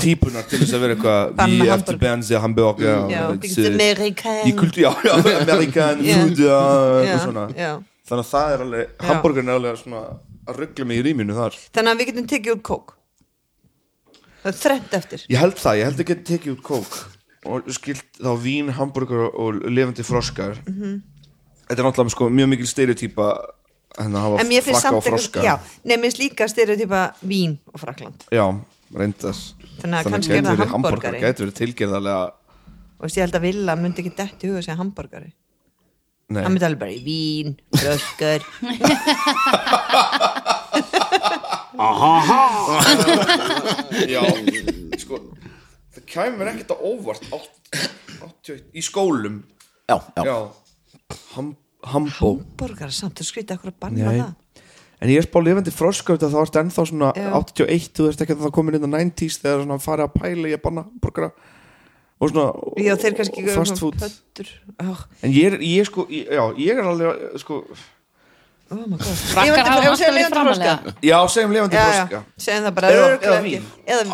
F: típunar til þess að vera eitthvað
D: Banna
F: við
D: hamborg.
F: eftir benzi, hambók já,
D: já,
F: it's,
D: þetta er
F: uh, í
D: Amerikan
F: kultu, já, já, Amerikan
D: Já.
F: food, já,
D: Já,
F: eitthvað svona
D: já.
F: þannig að það er alveg,
D: Já.
F: hambúrgarinn er alveg svona að ruggla mig í rýminu þar
D: þannig að við getum tekið út kók það er þrennt eftir
F: ég held það, ég held ekki að tekið út kók og skilt þá vín, hambúrgar og levandi froskar
D: Mhm.
F: þetta er náttúrulega sko, mjög mikil stereotypa en að
D: en mér
F: hafa
D: finnst
F: frakka
D: samt
F: og froska
D: eitthvað já, nefnir finnst líka styrjótypa vín og Frakland
F: Já, reyndar
D: Þannig að kannski er það
F: gæti verið
D: hamborgari.
F: hamborgari, Gæti verið tilgerðarlega
D: og veist, ég held að Villa myndi ekki detti huga sig að hamburgari
F: Nei,
D: hann myndi alveg bara í vín, röskur
F: já Sko, það kæmur ekkert á óvart átt- 81 Í skólum
B: já, já,
F: Já, Ham, Hambó
D: hamburgari samt, þú skrítið okkur að banna
F: Nei.
D: það
F: En ég er spáð lifandi froska út að það varst ennþá svona
D: Já.
F: 81, þú veist ekki að það komin inn á 90s þegar svona farið að pæla í að banna hamburgara og svona
D: já, þeir
F: og-
D: kannski
F: og fast food
D: pöttur oh,
F: En ég er, ég sko, ég, já, ég er alveg sko,
D: oh my god
E: Frakkar hafa alltaf verið framalega.
F: já, segjum
D: já,
F: lifandi
D: já,
F: froska
D: segjum það bara
F: Eða-
D: örugglega
F: eða vín.
D: ekki. eða vín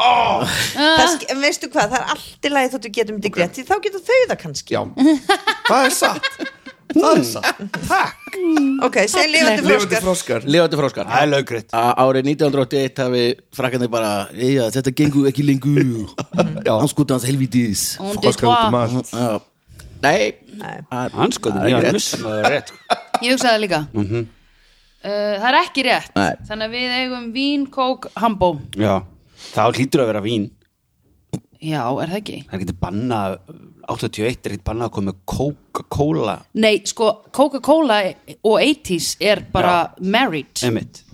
D: Það sk- en veistu hvað, það er allt í lagi þóttu getum þetta grétt, því þá getur þau það kannski
F: Já, það er satt Það er satt Takk
D: ok, segjum lifandi
F: Lifandi
D: froskar
F: froskar
B: lifandi froskar
C: Það er löggrétt
B: Að árið 1981 hafi frakkarnir bara eða þetta gengur ekki lengur anskotans helvítis
E: Hún dýtt
F: Froskar út um
E: hvað,
F: allt
B: Já. nei
C: Hann sko,
B: það
C: ég
B: er
C: er
B: rétt.
C: missum að það er rétt sko.
E: ég hugsaði það líka
C: Mhm.
E: Uh, það er ekki rétt
B: Nei.
E: þannig að við eigum vín, kók, hambó
C: Já, þá hlýtur að vera vín
E: já, er það ekki?
C: Það er ekki bannað 81 er ekki bannað að koma með Coca-Cola
E: nei, sko, Coca-Cola og 80s er bara married
C: Emitt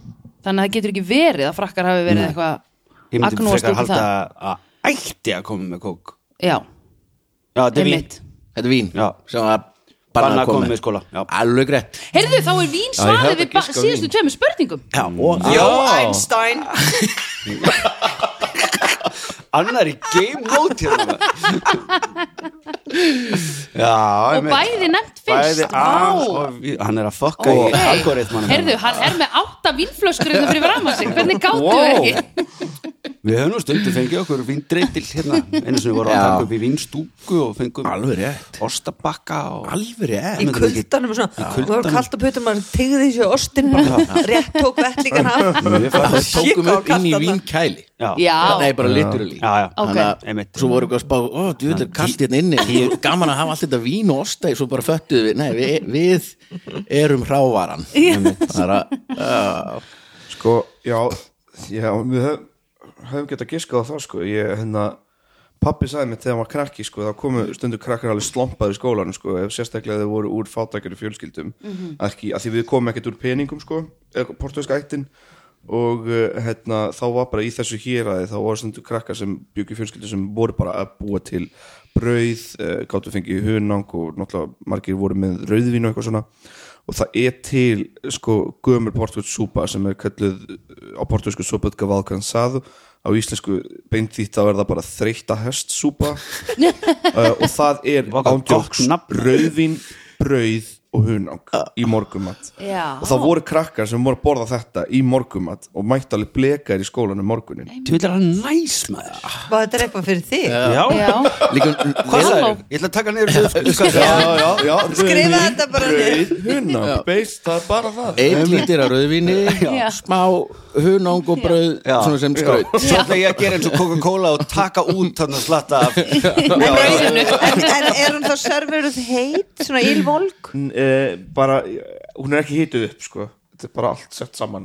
E: þannig að það getur ekki verið að frakkar hafi verið
C: Ég
E: eitthvað
C: myndi
E: agnúast
C: frekar
E: út í
C: halda
E: það
C: að ætti að koma með kók
E: já,
C: Já, þetta er vín
E: einmitt
B: þetta er vín
C: Já.
B: sem var
C: Bannað að koma með í skóla Já,
B: alveg greitt
E: heyrðu, þá er vín
F: hefði
E: svarið við
F: giskað
C: sko,
E: ba-
F: á vín.
E: síðustu tveimur spurningum
B: já, og
D: Jó Einstein
C: annar í game mode hérna Já,
E: og bæði nefnt fyrst
C: Bæði
E: Vá.
C: að og við- Hann er að fokka í
E: Ókei.
C: algoritmanum hérna.
E: heyrðu, hann er með átta vínflöskur hérna fyrir fram að sig, hvernig gáttu
F: Wow.
E: ekki
C: Við höfum nú stundum fengið okkur víndreitil hérna einu sem við vorum að
B: Já.
C: taka upp í vínstúku og fengum
B: alveg rétt
C: ostabakka og
B: alveg rétt
D: í
C: myndi ekki-
D: kuldanum og svona,
C: Í
D: það var
C: kuldanum.
D: kalt á putum maður tegði þessu ostin bara rétt tók vettlíkan af
C: Mjög fallegt.
B: tókum
D: Kikka á
B: upp inn í
D: kalt þarna.
B: vínkæli
E: já,
B: nei, bara liturally
C: Já, já,
E: Ok.
B: Þannig að-
C: Einmitt.
B: svo voru við að spá, ó, djúvill er kallt hérna inni Ég- gaman að hafa allt þetta vín og ostæg svo bara föttuðu við, nei, við, við erum hrávaran það er að, ah, já,
F: Sko, já, já Við höfum, höfum getað giskað á það sko Ég, hérna Pappi sagði mér þegar hann var krakki sko, þá komu stundu krakkar alveg slompaður í skólanum sko, ef sérstaklega þeir voru úr fátækjari fjölskyldum ekki, að því við komum ekkert úr peningum sko, portugalska ættin og eh, hérna, þá var bara í þessu héraði þá voru stundu krakkar sem byggjum fjölskyldu sem voru bara að búa til brauð, eh, gáttu fengið hunang og náttúrulega margir voru með rauðvín og eitthvað svona og það er til sko gömur portugalsúpa sem er kalluð eh, á portugalsku súpa gavaldkansað á íslensku beint því þá er það bara þreytta hestsúpa uh, og það er
C: Vá, hvað
F: ándjóks
C: gott nafn.
F: rauðvin, brauð og hunang í morgumat
E: Já.
F: og það voru krakkar sem voru að borða þetta í morgumat og mætti alveg blekar í skólanum morgunin
C: Þú veit að hann næs maður
D: Vá, þetta er eitthvað fyrir þig
C: Já,
E: já,
B: líka, eh,
C: hvað
E: Halló.
C: sagði Ég ætla að taka niður hljóðsku
F: já, já, já,
D: Skrifa þetta bara niður.
F: brauð, hunang, beist, það er bara það
B: einn lítir af rauðvíni
E: Já.
B: smá hunang og brauð
C: Já.
B: svona sem skraut
C: Svo ætla ég að gera eins og Coca-Cola og taka út þannig að slatta af
D: en, en, en er hún þá serveruð heit svona ílvolk
F: uh, bara, hún er ekki hituð upp sko, þetta er bara allt sett saman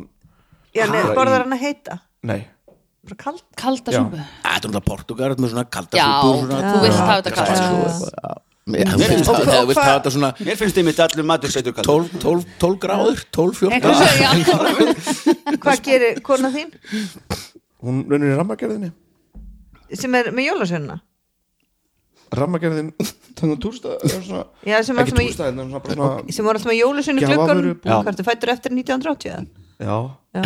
D: já, nei,
F: Bara í-
D: borðar hann að heita
F: nei,
D: bara kalt
E: kalda
F: Já.
E: súpu
B: Það er náttúrulega Portugal með svona kalda
E: Já,
B: súpur svona-
E: þú vilt hafa þetta kalt.
B: Já. Mér mér finnst
D: Og-
B: það
D: og
B: þú vilt
D: hvað-
B: hafa þetta svona
C: Mér finnst þið mitt allur matur sætur kallt
B: 12, 12, 12 gráður, 12, 14
E: eitthvað svo, já
D: hvað gerir kona þín
F: hún raunir í rammagerðinni
D: sem er með jólasönna
F: rammagerðin, þannig að túrsta svona,
D: Já, sem var
F: ekki
D: svona í-
F: túrsta, en svona, bara svona
D: sem voru alltaf með jólasönni
F: Gjafavörubúð.
D: glöggun
C: Já.
D: hvað ertu fættur eftir 1980 eða?
F: já,
D: Já.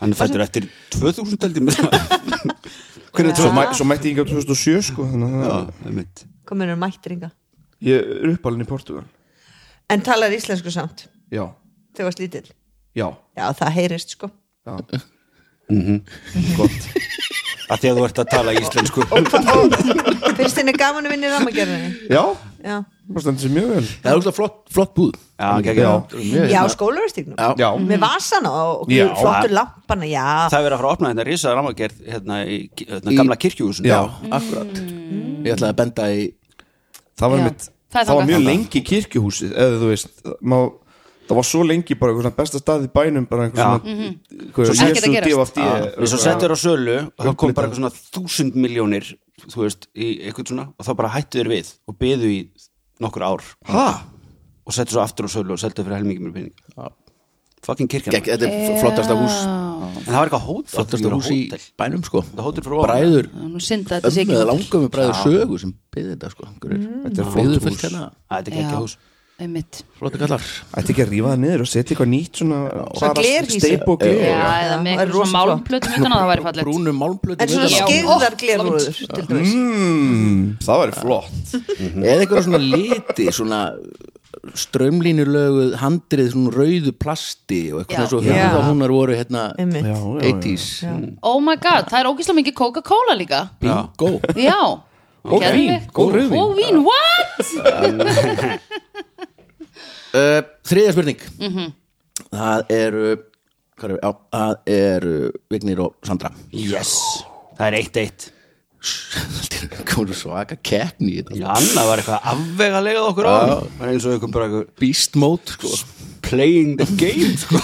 C: hann er fættur eftir 2000 heldur mér hvernig
F: Svo,
C: er
F: mæ, svo mætti ég ekki á 2007 sko þannig að
C: 2000
D: komin er mættringa
F: ég er uppalinn í Portugal
D: en talar íslensku samt
F: já,
D: þegar varst lítill
F: já,
D: já það heyrist sko
F: já
C: gott að því að þú ert að tala íslensku
D: finnst þinni gaman að vinna í rammagerðinni
F: já,
D: já,
F: það stendur sér mjög vel
B: Það er úrslag flott, flott búð
C: já, geggjað.
F: Já.
D: já skólaverstíknum
B: Já.
F: hérna. já, Mm.
D: með vasana og
F: Já.
D: flottur lampana já,
C: það er verið að fara að opna hérna risa ramagerð hérna í hérna, gamla kirkjuhúsin
F: já,
B: akkurat Ég ætlaði að benda í
F: það var
D: Já.
F: mitt
E: Það er
F: það var
E: þangað.
F: mjög lengi í kirkjuhúsið eða þú veist, má, það var svo lengi bara einhver svona besta stað í bænum bara einhver
C: Já.
F: svona hvað er
E: Mhm. Svo
F: það,
E: ekkert að
F: Jesú
E: gerast.
F: DFD
C: við svo settur á sölu og það kom bara eitthvað svona þúsund miljónir þú veist, í eitthvað svona og þá bara hættu þér við og beðu í nokkur ár
F: hæ,
C: og settur svo aftur á sölu og seldu fyrir helmingi mér pening
B: Já.
C: fucking kirkjan
B: gegn, Þetta er flottasta hús
C: en það var eitthvað hótel
B: Flottasta hús í bænum sko
C: það hótel fyrir ofan.
B: Bræður
E: Nú synda þetta
B: Ömmu
E: sé ekki
B: eða
E: hótel.
B: langömmu bræður sögu sem byggði þetta sko Þetta er flott hús
C: Að þetta er ekki
E: Já,
C: hús
E: einmitt
B: Flotti kallar
F: ætti ekki að rífa það niður og setja eitthvað nýtt svona bara
D: glerhýsi.
F: steypu og gler
E: Já, eða
D: það
E: með
D: er
E: eitthvað svona
D: rosa
E: málplötum utan að það væri fallið
B: Brúnum
D: en
B: málplötum utan
D: svona
B: á.
D: skyrðar glerúður til dæmis
F: Mm, það væri flott
B: Mhm. Eða eitthvað svona liti Svona strömlínulöguð handrið Svona rauðu plasti Og
E: Já.
B: eitthvað svo
D: Já.
B: höfðahúnar voru hérna Mm.
D: Einmitt.
F: Já, já, já.
B: 80s
E: Oh my god, það er ógislega mikið Coca-Cola líka
B: Bingo
E: Já
F: Og
E: Geðveikt.
F: vín, góð rauðvín.
E: Og vín, what?
B: Uh, þriðja spurning það eru hvað er, já, það eru Vignir og Sandra
C: yes, það er eitt eitt
B: komur svaka keppni í þetta.
C: já, annað var eitthvað afvega legað okkur á það var eins og eitthvað bara eitthvað
B: beast mode sko.
C: playing the game sko.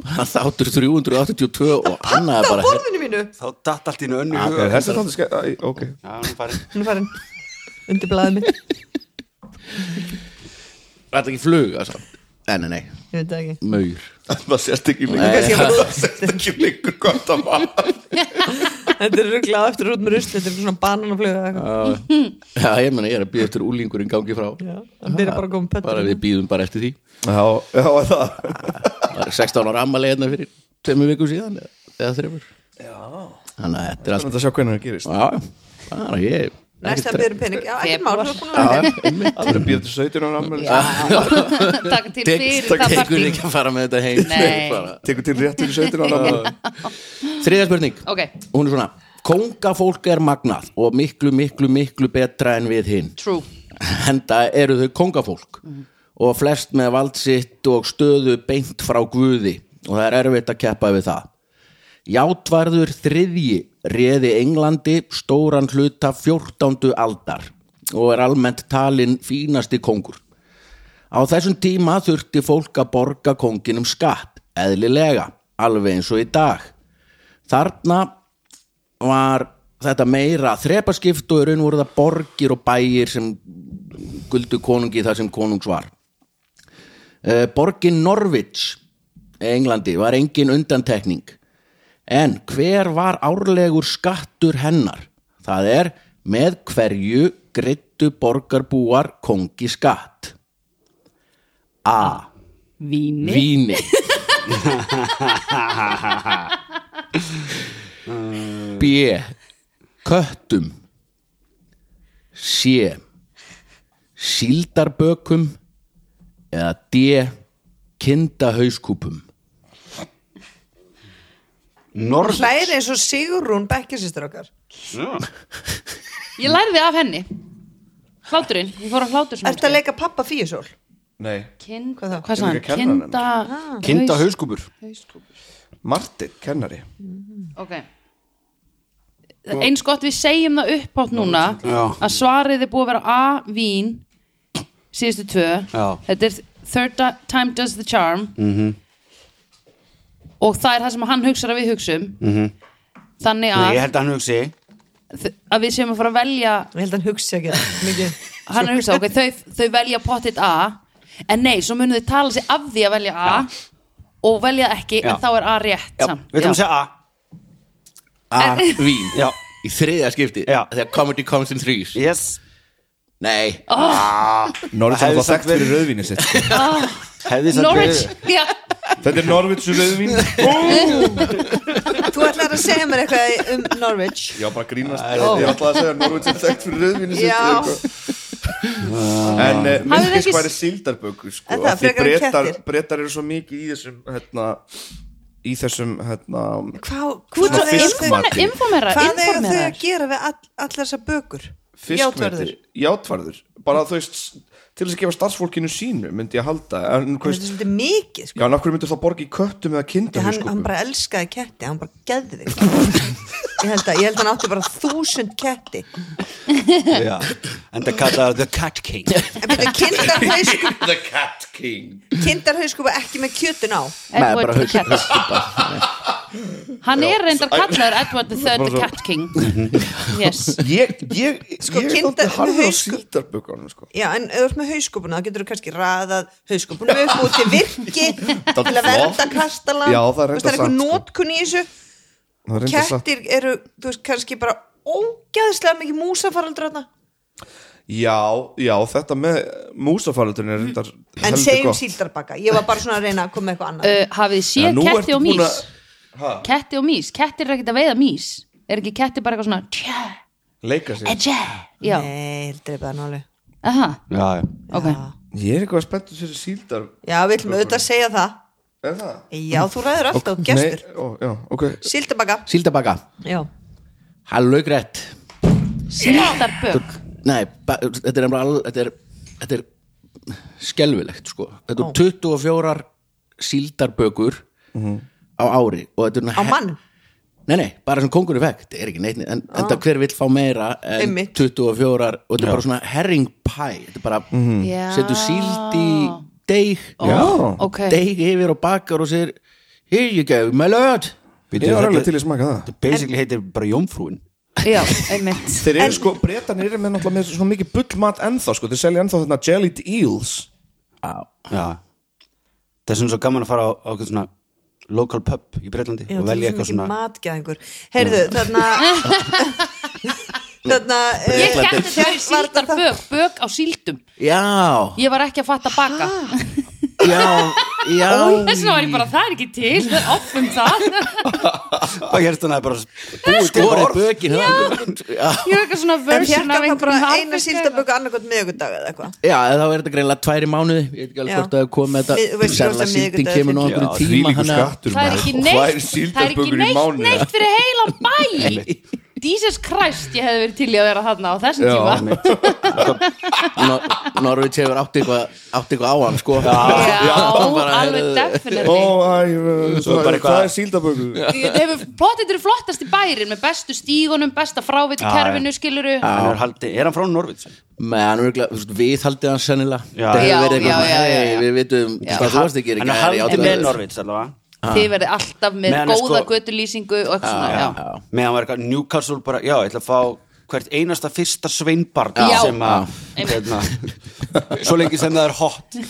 B: það þáttur 382 og annað er
D: á
B: bara hérna.
D: borðinu mínu
C: þá datt allt í einu önnu
F: Ok, þessi þáttu skemmt, æ, ok
C: já, nú farin
D: hún er farin undir blaðið mitt
B: þetta ekki flug altså. nei, nei, nei,
D: ég veit það ekki
B: maur
F: það sést ekki
B: Nei.
F: lengur
D: Kannski var þú-
F: sést ekki lengur hvað það var
D: þetta er ruglað eftir út með rusl þetta er svona bananaflöð eitthvað.
B: já, ég menna, ég er að býða eftir úlingurinn gangi frá
D: Já, hann byrjar bara að koma hérna. með pöddurinn.
B: bara við býðum bara eftir því
F: já, já, það
B: Það er 16 ára ammali hérna fyrir tveimu viku síðan eða- eða þreifur þannig að þetta er
F: Þannig
B: allt
F: að sjá hvernig það gerist
B: já, bara ég
D: næsta
B: ekkert-
D: byrjum um pening já, ekki mál, þú er búin að
B: Já,
D: vera
B: já, einmitt.
F: Það er býðið til 17 ára ammæli
E: Takk til
B: Tek-
E: fyrir
B: tek-
E: það
B: tekur
E: partí
B: ekki að fara með þetta heim
E: Nei.
B: Nei, bara.
F: Tekur til rétt til 17 ára ammæli
B: þriðja spurning
E: Ok,
B: hún er svona kóngafólk er magnað og miklu miklu miklu betra en við hinn
E: true
B: henda eru þau kóngafólk og flest með vald sitt og stöðu beint frá guði og það er erfitt að keppa við það Játvarður þriðji réði Englandi stóran hluta 14. aldar og er almennt talinn fínasti kongur Á þessum tíma þurfti fólk að borga konginum skatt, eðlilega, alveg eins og í dag. Þarna var þetta meira þrepaskipt og í raun voru það borgir og bæir sem guldu konungi þar sem konungs var. Eh, Borgin Norwich, Englandi, var engin undantekning. En hver var árlegur skattur hennar? Það er með hverju greittu borgarbúar kongi skatt. A.
E: Víni
B: Víni B Köttum C Síldarbökum eða D Kindahauskúpum
D: hún hlæðir eins og Sigrún bekkjarsýstur okkar
E: Ég lærði af henni Hláturinn, ég fór að hlátur svona
D: ert að leika pappa fíusól
F: Nei,
E: Kinda,
D: Hvað þá? Ah.
E: hvað sagði
F: Ég er ekki að
E: hann?
F: kenna henni.
E: Kinda
C: kinda hauskúpur
F: Martin, kennari
E: Ok Eins gott við segjum það upp átt núna
C: Já.
E: að svarið er búið að vera A, vín síðustu tvö
C: Já. Mhm.
E: þetta er third ti- time does the charm -hmm. og það er það sem hann hugsar að við hugsum -hmm. þannig
C: Mhm. Nei,
E: að,
C: ég held að hann hugsi
E: þ- að við séum að fara að velja
D: ég held að hann hugsi ekki um það mikið
E: hann er að hugsa, ok, þau, þau velja pottit A en nei, svo munum þau tala sig af því að velja A og velja ekki,
C: Já.
E: en þá er A rétt
C: já,
E: samt.
C: við þurfum að segja A
B: A Vín
C: já,
B: Í þriðja skipti
C: Já.
B: Þegar comedy comes in threes
C: yes
B: Nei
F: Norris
C: Það
F: er
C: hefði samt
F: það þekkt fyrir rauðvínu sitt sko.
C: Hefði samt
E: Norwich,
C: verið-
E: já,
F: Þetta er Norvitsu rauðvín
D: Þú ætlar að segja mér eitthvað um Norwich
F: Já, bara grínast
C: Æ,
F: Ég ætlaði að segja Norvitsu þekkt fyrir rauðvínu sitt
D: Já.
F: eða eitthvað. En eh,
E: Hafið
F: myndið
E: ekki-
F: sko væri síldarbökur sko,
D: Er það
F: af því
D: frekar en
F: Bretar-
D: kettir?
F: Bretar eru svo mikið í þessum hérna, í þessum hérna,
D: Hvað,
F: Svona
D: hvað,
F: fiskmat.
D: hvað,
E: Informe- informera,
D: hvað eiga þau
E: informera
D: að gera við all, allar þessar bökur?
F: fiskmeti Játvarður Bara þú veist, til þess að gefa starfsfólkinu sínu myndi ég halda en,
D: Þetta
F: hvað
D: er
F: veist,
D: svolítið mikið sko.
F: Já, en af hverju myndir það borga í köttum eða sko? kindum
D: hann, hann bara elskaði ketti, hann bara geði þig ég, held að, ég held að hann átti bara þúsund ketti
C: Já. En það kallaði The Cat King
D: En byrja, kindarhauskup
F: The Cat King
D: kindarhauskup er ekki með kjötun á
B: Nei, bara
E: Edward the
B: haust-
E: Cat
B: haustkupa.
E: Hann er reyndar kallaður Edward the Third the Cat King
F: Mhm.
E: Yes
F: Ég, ég,
D: Sko,
F: ég er
D: kindar-
F: þáttið harður á
D: hausku-
F: síldarbökunum sko.
D: Já, en ef þú ert með hauskupuna, þá getur þú kannski raðað hauskupuna upp út til virki til að vernda
F: flott.
D: kastala
F: Já, það er
D: Það er
F: reyndar
D: eitthvað
F: satt, sko.
D: nótkun í þessu
F: Það er reyndar satt.
D: Kettir eru, þú veist, kannski bara ógæðslega mikið músafaraldur þarna
F: Já, já, þetta með músafaraldurinn er reyndar
D: En
F: heldur
D: segjum
F: gott.
D: síldarbaka Ég var bara svona að reyna að koma með eitthvað annað
E: uh, Hafið þið
F: Já,
E: séð
F: nú
E: ketti
F: ertu
E: og
F: búin
E: mís
F: að- Ha?
E: Ketti og mís, kettir er ekkert að veiða mís Er ekki ketti bara eitthvað svona tjá,
F: Leika sér
E: tjá, Já,
D: Nei, heldur bara náli
E: aha,
C: Já, já
E: ok
F: Ég er eitthvað spenntur fyrir síldar
D: Ah. Já, við ætlum auðvitað að segja það
F: Er það?
D: Já, þú ræður alltaf gestur
F: Nei, ó, já, ok
D: Síldarbaka
B: Síldabaka,
D: Já,
B: halvlaugrætt
E: Síldarbök
B: Nei, ba- þetta er, nefnilega al- þetta er, þetta er skelfilegt sko. Þetta
D: Ó.
B: er 24 síldarbökur á ári og þetta er
D: á mann
B: Nei, nei, bara sem kongurinn fekk, þetta er ekki neitt en, en það hver vill fá meira en
D: Einmitt.
B: 24 og þetta er bara svona herringpæ þetta er bara, mm
E: Já.
B: setur síld í deig
F: Já,
E: Ok,
B: deig yfir og bakar og sér here you go, my lord
F: ég er alveg til í smaka það
C: Basically heitir bara Jómfrúin
E: já, einmitt
F: Þeir eru sko, breytan eru með náttúrulega með svona mikið bullmat ennþá sko Þeir selja ennþá þarna jellied eels
C: Já Það er svona svo gaman að fara á, á eitthvað svona local pub í Breitlandi
D: Já,
C: og
D: þú
C: velja
D: ert svo
C: eitthvað
D: mikið
C: svona
D: matgæðingur Heyrðu, þarna Þarna eh,
E: Ég kætti þegar
D: hélt var þetta-
E: síldarbök, bök á síldum
B: já,
E: Ég var ekki að fatta baka
B: já, já
E: Þess vegna var ég bara, það er ekki til Það er off um það
C: og hérna er bara búið til
B: skorið
C: orð
B: bökin já,
E: Ég var eitthvað svona
D: En
E: version
D: hérna
E: af
D: var bara
E: einhverjum
D: eina
E: harfisk eða-
D: síldaböku annarkot miðugudag eða eitthvað
B: já, eða þá er þetta greinlega tværi mánuði ég veit ekki alveg
D: Já.
B: hvort að það komið
D: Við- þú
B: þetta
D: veist,
B: sérlega
D: rosa
B: síldin
D: miðvikudagur
B: kemur nú
D: fyrir-
B: okkur tíma
F: þvílíkur
B: hana-
F: skattur
E: Það er
F: maður.
E: ekki
F: Og tvær
E: neitt, það er ekki
F: síldarbökur í
E: neitt,
F: mánuði
E: neitt fyrir heilan bæ Jesus Christ, ég hefði verið til í að vera þarna á þessum
F: Já,
E: tíma
B: Nor- Norvíts hefur átt eitthvað átt eitthvað á hann sko
E: Já,
B: bara,
E: alveg
B: heyrðu,
E: definitely
F: Ó, æ, uh,
C: Svo er bara
F: það
C: eitthvað-
F: það er síldarbökur
E: Þetta hefur potið eru flottast í bærin með bestu stígunum, besta frávitu
C: Já, Ah,
E: kerfinu skiluru
C: hann er, haldi, er hann frá Norvits?
B: menn við haldið hann sennilega
C: Já.
B: það
E: Já,
B: hefur verið eitthvað
E: já, já, já,
B: "Hey,
E: já.
B: við vitum hvað þú varst að gera í
C: hann er
B: gær, ég átti
C: haldi
B: að-
C: með Norvits allavega
E: Þið verðið alltaf með
C: Meðan er
E: góða
C: sko-
E: göttulýsingu og eitthvað svona, já
C: með hann var eitthvað Newcastle bara, já, ég ætla að fá hvert einasta fyrsta sveinbarn
E: Já.
C: sem að
E: Já.
C: hérna, svo lengi sem það er hot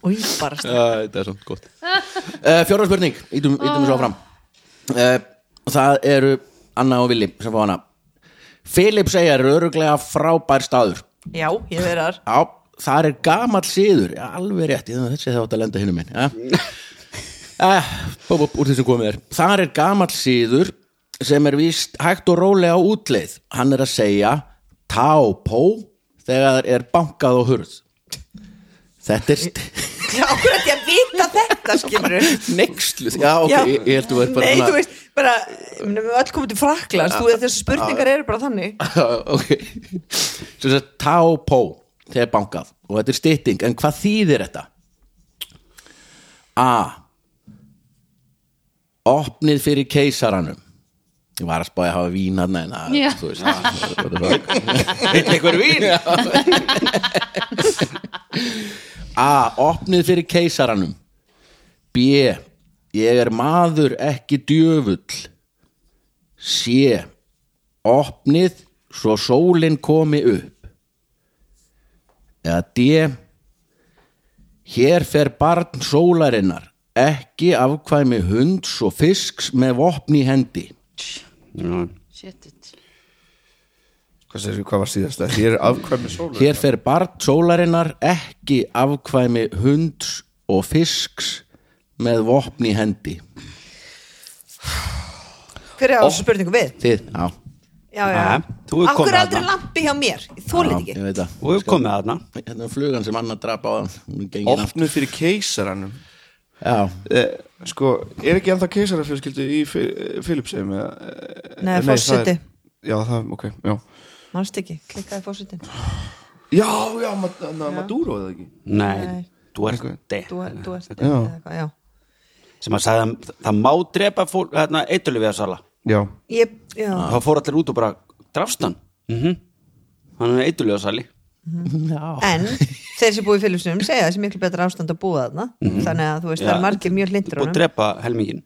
D: Új, bara
B: Æ, þetta er svona gott uh, fjóra spurning, ítum,
E: Ah.
B: ítum svo áfram uh, það eru Anna og Vili sem fá hana Filip segja er öruglega frábær staður
D: Já, ég verið þar
B: Já, þar er gamall siður Já, alveg rétt, ég, þessi þátt að lenda hinum minn ja.
D: Mm.
B: eh, bú, bú, Úr þessum komið er Þar er gamall siður sem er víst hægt og rólega á útleið Hann er að segja tá pó þegar er bankað á hurð Þetta er st-
D: Já, okkur ætti ég að vita þetta, skilur
B: nexluð Já, ok,
D: Já.
B: ég, ég held þú er bara
D: Nei,
B: svona-
D: þú veist, bara ég meina, Við öll komum til Fraklands, þú veist, þessu spurningar eru bara þannig
B: ok Svo þess að tá pó þegar bankað og þetta er stytting en hvað þýðir þetta? A opnið fyrir keisaranum ég var að spáði að hafa vín hann en að
E: Já.
B: þú veist
C: veit einhver vín
B: A opnið fyrir keisaranum B ég er maður ekki djöfull C opnið svo sólin komi upp eða D hér fer barn sólarinnar ekki afkvæmi hunds og fisks með vopni hendi
C: Já.
E: Shit it
F: Hvað, segir, hvað var síðast það? Hér er afkvæmi sólu
B: Hér fer barn sólarinnar ekki afkvæmi hunds og fisks með vopn í hendi
D: Hver er á þessu spurningu við?
B: Þið, já,
D: Já, já,
C: Nei, þú er
D: já Akkur
C: komið
D: er aldrei
C: þarna.
D: lampi hjá mér
B: já
D: Þólið
B: ég
D: ekki
B: veit að
C: og við komum með þarna
B: Hérna er flugan sem annar drap á hann Hún er gengin aftur
F: Opnuð fyrir keisaranum
B: Já,
F: eh, Sko, er ekki ennþá keisarafjölskyldu í eh, Filipsheim? eh, Nei,
D: Nei,
F: það er-
D: forseti.
F: Já, það, ok, já
D: Manst ekki, klikkaði fórsetin
F: Já, já, ma ma Maduro eða ekki
C: nei,
F: Einhver-
C: Duarte
D: Þú er- þú ert
F: Já.
D: eða eitthvað, já
C: sem að sagði að það má drepa fólk hérna, eitulvi að sala
F: Já,
D: Ég, já,
C: þá fór allir út og bara drafst hann mm hann er eitulvi að sali
D: en þeir sem búið í fylgjusunum segja þessi miklu betra ástand að búa þarna þannig að þú veist, það er margir mjög hlindur
C: og drepa helmingin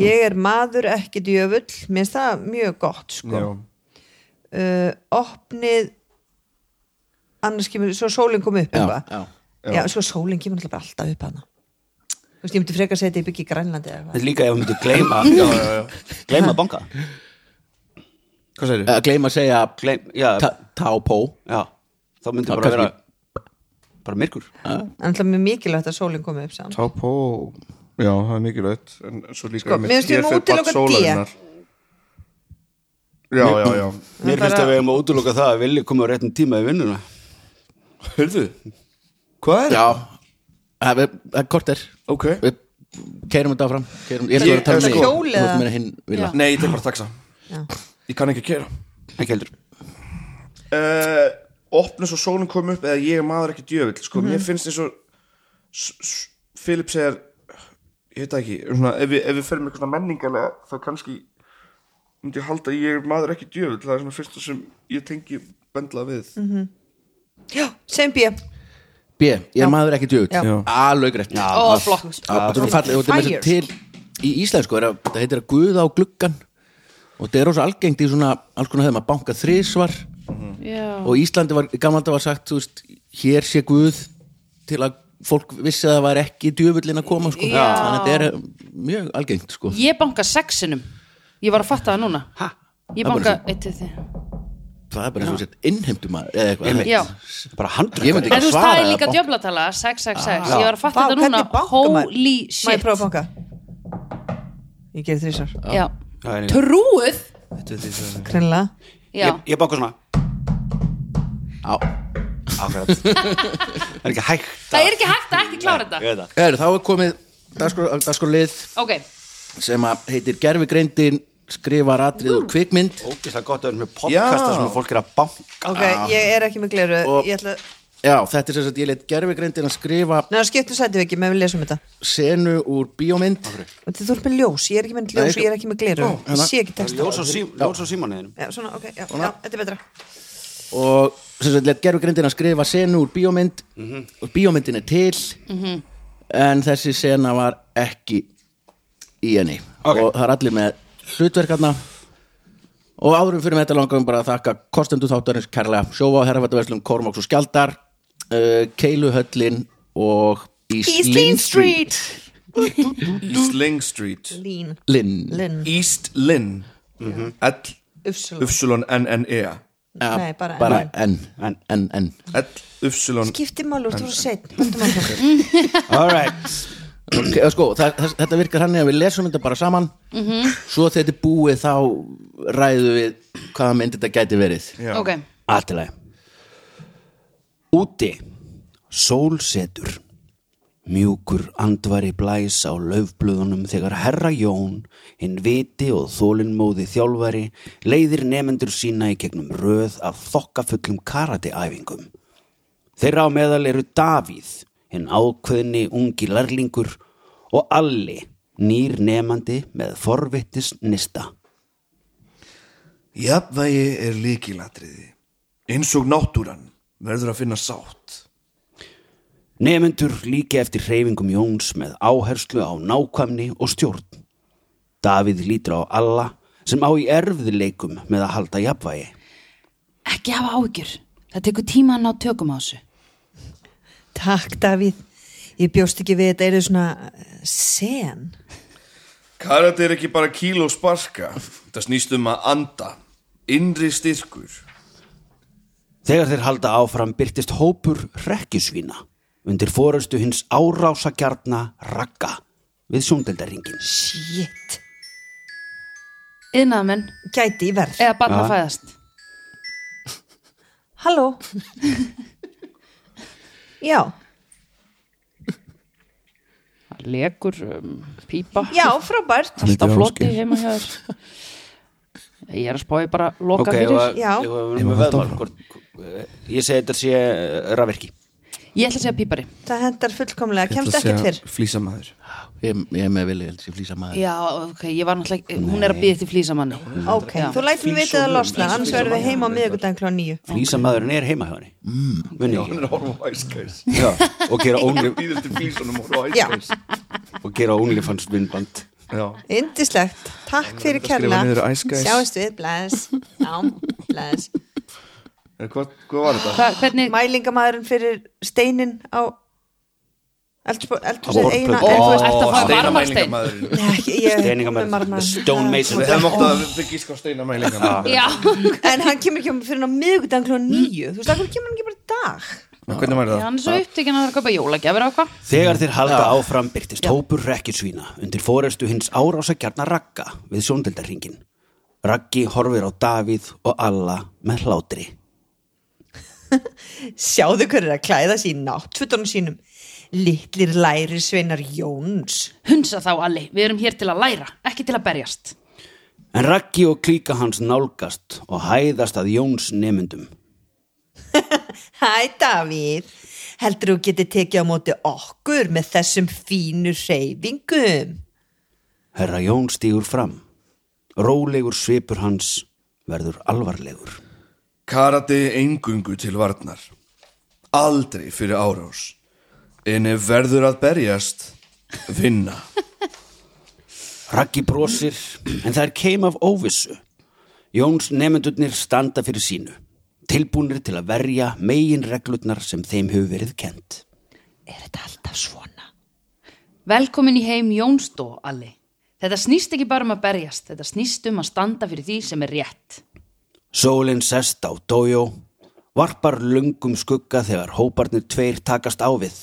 D: ég er maður ekki djöfull mér finnst það mjög gott sko.
F: já,
D: uh, opnið annars kemur, svo sólinn kom upp
B: Já,
D: eitthvað.
B: já.
D: já. svo sólinn kemur náttúrulega bara alltaf upp hana þú veist, ég myndi frekar að segja þetta ég byggi í Grænlandi eða eitthvað.
C: líka ef hann myndi gleyma gleyma að banka
F: Hvað segir þið?
B: að gleyma að segja
C: Gleym, já,
B: ta- Tápó
C: já, þá myndi
B: Já,
C: bara vera
B: kannski-
C: bara myrkur
D: en alltaf mjög mikilvægt að sólinn komi upp saman
F: Tápó Já, það er mikilvægt En svo líka
D: Sko,
F: einmitt,
D: mér finnst við
F: hér
D: með
F: fer barn
D: útiloka
F: sólarinnar. Já, já, já
C: mér
D: bara-
C: finnst að við hefum að útloka það að vilja koma á réttum tíma í vinnuna
F: Hörðu, hvað er það?
B: Já, Eh, það er- það er korter
F: Ok
B: Við keirum þetta áfram keirum, Ég
F: Ég-
B: ætla að tala um
F: en
B: mig Þú
F: sko-
B: ert
D: Hjólið-
B: meira hinn vilja
F: Nei, ég tek bara taxa
D: Já.
F: Ég kann ekki að kera
C: ekki heldur
F: uh, Opna svo sólun kom upp Eða ég er maður ekki djöfull Sko, mér finnst eins og s- s- Philip segir Ég veit það ekki svona, ef, við, ef við ferum eitthvað svona menningalega Þá kannski Myndi ég halda að ég er maður ekki djöfull Það er svona fyrsta sem ég tengi bendla við
D: já, sem bíja
B: B, ég er maður ekki djögut
D: Já.
B: Alveg rétt
E: Ó, flott.
B: Þetta er fallið og þetta er með þessu til í íslensku er að, það heitir að guða á gluggan og þetta er rosa algengt í svona alls konar hefðum að banka þrísvar
E: Já.
B: og í Íslandi var, gammalda var sagt þú veist, hér sé guð til að fólk vissi að það var ekki djöfullin að koma sko.
E: Já.
B: þannig að þetta er mjög algengt sko.
E: Ég banka sexinum Ég var að fatta það núna
C: ha,
B: Það
E: Ég
B: er
E: banka
B: bara
E: eitt til þig
B: það er bara eins og sett innheimtum að eða eitthvað
E: Já.
C: bara
B: Ég myndi
C: handrökk
E: En þú veist,
B: svara
E: það er
B: eða
E: líka
B: banka.
E: djöflatala 666, ég var að fatta
D: Vá,
E: þetta
D: hvernig
E: núna
D: bankar maður?
E: Holy
D: má ég
E: shit
D: prófa að banka ég gerir þrísar,
E: Já.
C: Já, en-
E: Trúið
D: greinlega
E: Já,
C: ég, ég banka svona
B: Á.
C: Akkurat. það er ekki hægt
E: það er ekki hægt að ekki klára
C: ég
E: þetta
C: veit það
B: Heyrðu, þá er komið dagskorlið
E: Ok,
B: sem að heitir gerfigreindin skrifar atrið og kvikmynd
C: ógislega gott að vera með podcasta
F: Já.
C: sem að fólk er að banka
D: ok, ég er ekki með gleru
B: Ah. Og-
D: ég ætla,
B: Já, þetta er sem sagt, ég let gerfigreindin að skrifa
D: neða, skiptu sæti við ekki með við lesum þetta
B: senu úr bíómynd
D: Þetta þú ert með ljós, ég er ekki með ljós
B: Nei,
D: og ég er ekki með gleru Ég
B: hérna.
D: sé ekki texta
C: ljós og sím- ljós og símanniðinum
D: Já, svona, ok, já, já, þetta er betra
B: og sem sagt, let gerfigreindin að skrifa senu úr bíómynd og bíómyndin er til en þessi sena var ekki í henni
C: Ok.
B: og það er allir með hlutverkarna og áðurum fyrir með þetta langar við bara að þakka kostendu þáttarins kærlega sjófa á herrafættaverslum Kormáks og Skjaldar uh, Keiluhöllin og East Lynn Street
F: East Ling Street
D: Lín,
B: Lynn
D: Linn,
F: East Lynn
D: Ufsula
F: L-Y-N-N-E
B: Ja,
D: Nei, bara
B: bara N
C: En.
B: N, N
F: L-Y
D: Skipti mál úr, þú er seitt Þetta
C: all right
B: Ok, eða sko, það, það, þetta virkar hann að við lesum þetta bara saman
E: Mhm.
B: svo þegar þetta er búið þá ræðum við hvaða mynd þetta gæti verið
E: ok
C: Aðtilega Úti Sólsetur Mjúkur andvari blæs á laufblöðunum þegar herra Jón, hinn viti og þólinmóði þjálfari, leiðir nefendur sína í gegnum röð af þokkafullum karateæfingum. Þeirra á meðal eru Davíð, hinn ákveðni ungi lærlingur og Alli, nýr nefandi með forvittis nista.
F: Jafnvægi er líkilatriði eins og náttúran verður að finna sátt
C: Nefendur líki eftir hreyfingum Jóns með áherslu á nákvæmni og stjórn. Davíð lítur á alla sem á í erfiðleikum með að halda jafnvægi.
E: Ekki hafa áhyggjur Það tekur tíma að ná tökum á þessu
D: Takk Davíð Ég bjóst ekki við þetta eru svona eh, sen
F: Karate er ekki bara kíl og sparka það snýst um að anda innri styrkur
C: Þegar þeir halda áfram byrtist hópur rekkjusvína undir fórustu hins árásakjarna ragga við sjóndeldarringin.
D: Shit,
E: Yðnaðamenn
D: gæti í verð
E: eða barna fæðast
D: Halló Já,
E: Lekur, um, pípa
D: já, frábært
E: Alltaf
B: Lítið
E: floti
B: Ásgeir.
E: heima hjá þér Ég er að spáði bara loka
C: Ok,
E: fyrir
C: ef að-
D: Já.
C: ef að við erum með veðmál, hvort- eh, Ég segi þetta sé eh, rafvirki.
E: Ég ætla að segja pípari
D: Það hendar fullkomlega, kemst ekkert fyrr
F: Flýsamæður
B: Ég, ég er með vilja, ég held ég flýsa maður
E: Já, ok, ég var náttúrulega Hún er að býða til flýsamanni
D: Ok,
E: Já.
D: þú lætur við þetta að losna annars verðum við heima á miðvikudaginn klá nýju
C: Flýsamæðurinn er heima hjá henni. Muni ekki.
F: Hún er að horfa á Ice Guys
C: Já, og gera, only,
F: Íðaldi flýsunum og horfa á Ice
D: Já.
F: Guys
C: og gera OnlyFans vinnband.
F: Já
D: Indislegt, takk fyrir
F: að skrifa
D: kærlega
F: niður Ice Guys.
D: Sjáumst við, bless Já, bless
F: En Hvað, hvað var þetta?
E: Hva, Hvernig,
D: Mælingamæðurinn fyrir steinin á
C: Á
D: eldhúsið eigina
C: borðplötu.
D: en þú
E: Ó, ertu að fá
D: veist-
E: varmarstein?
F: Steinamælingamæðurinn.
D: Nei, ekki- ég-
C: Steiningamæður.
D: með marmarinn.
C: Stone Mason.
F: Við hefum átt að við gíska á steinamælingamæður
E: já
D: En hann kemur ekki fyrir á miðvikudaginn klá nýju Þú veist, hann kemur hann ekki bara í dag
F: Hvernig var
E: Hann
F: það?
E: er svo upptekinn að það er að kaupa jólagjafir á hvað
C: Þegar þeir halda áfram byrtist hópur rekkjusvína undir fórestu hins árásakjarna Ragga við sjóndeldarringin. Raggi horfir á Davíð og Alla með hlátri.
D: Sjáðu hver er að klæða sig í náttfutunum sínum Littlir læri sveinar Jóns
E: Hunsa þá, Alli, við erum hér til að læra Ekki til að berjast
C: En Raggi og klíka hans nálgast og hæðast að Jóns nemyndum.
D: Hæ Davíð Heldur þú getið tekið á móti okkur með þessum fínu reyfingum
C: Herra Jón stígur fram. Rólegur svipur hans verður alvarlegur.
F: Karate eingungu til varnar Aldrei fyrir árás En ef verður að berjast Vinna
C: Raggi brosir, en það er keim af óvissu. Jóns nemyndurnir standa fyrir sínu, tilbúnir til að verja megin reglurnar sem þeim hefur verið kent.
D: Er þetta alltaf svona?
E: Velkomin í heim Jónstó, Alli Þetta snýst ekki bara um að berjast Þetta snýst um að standa fyrir því sem er rétt
C: Sólin sest á dójó, varpar lungum skugga þegar hóparnir tveir takast á við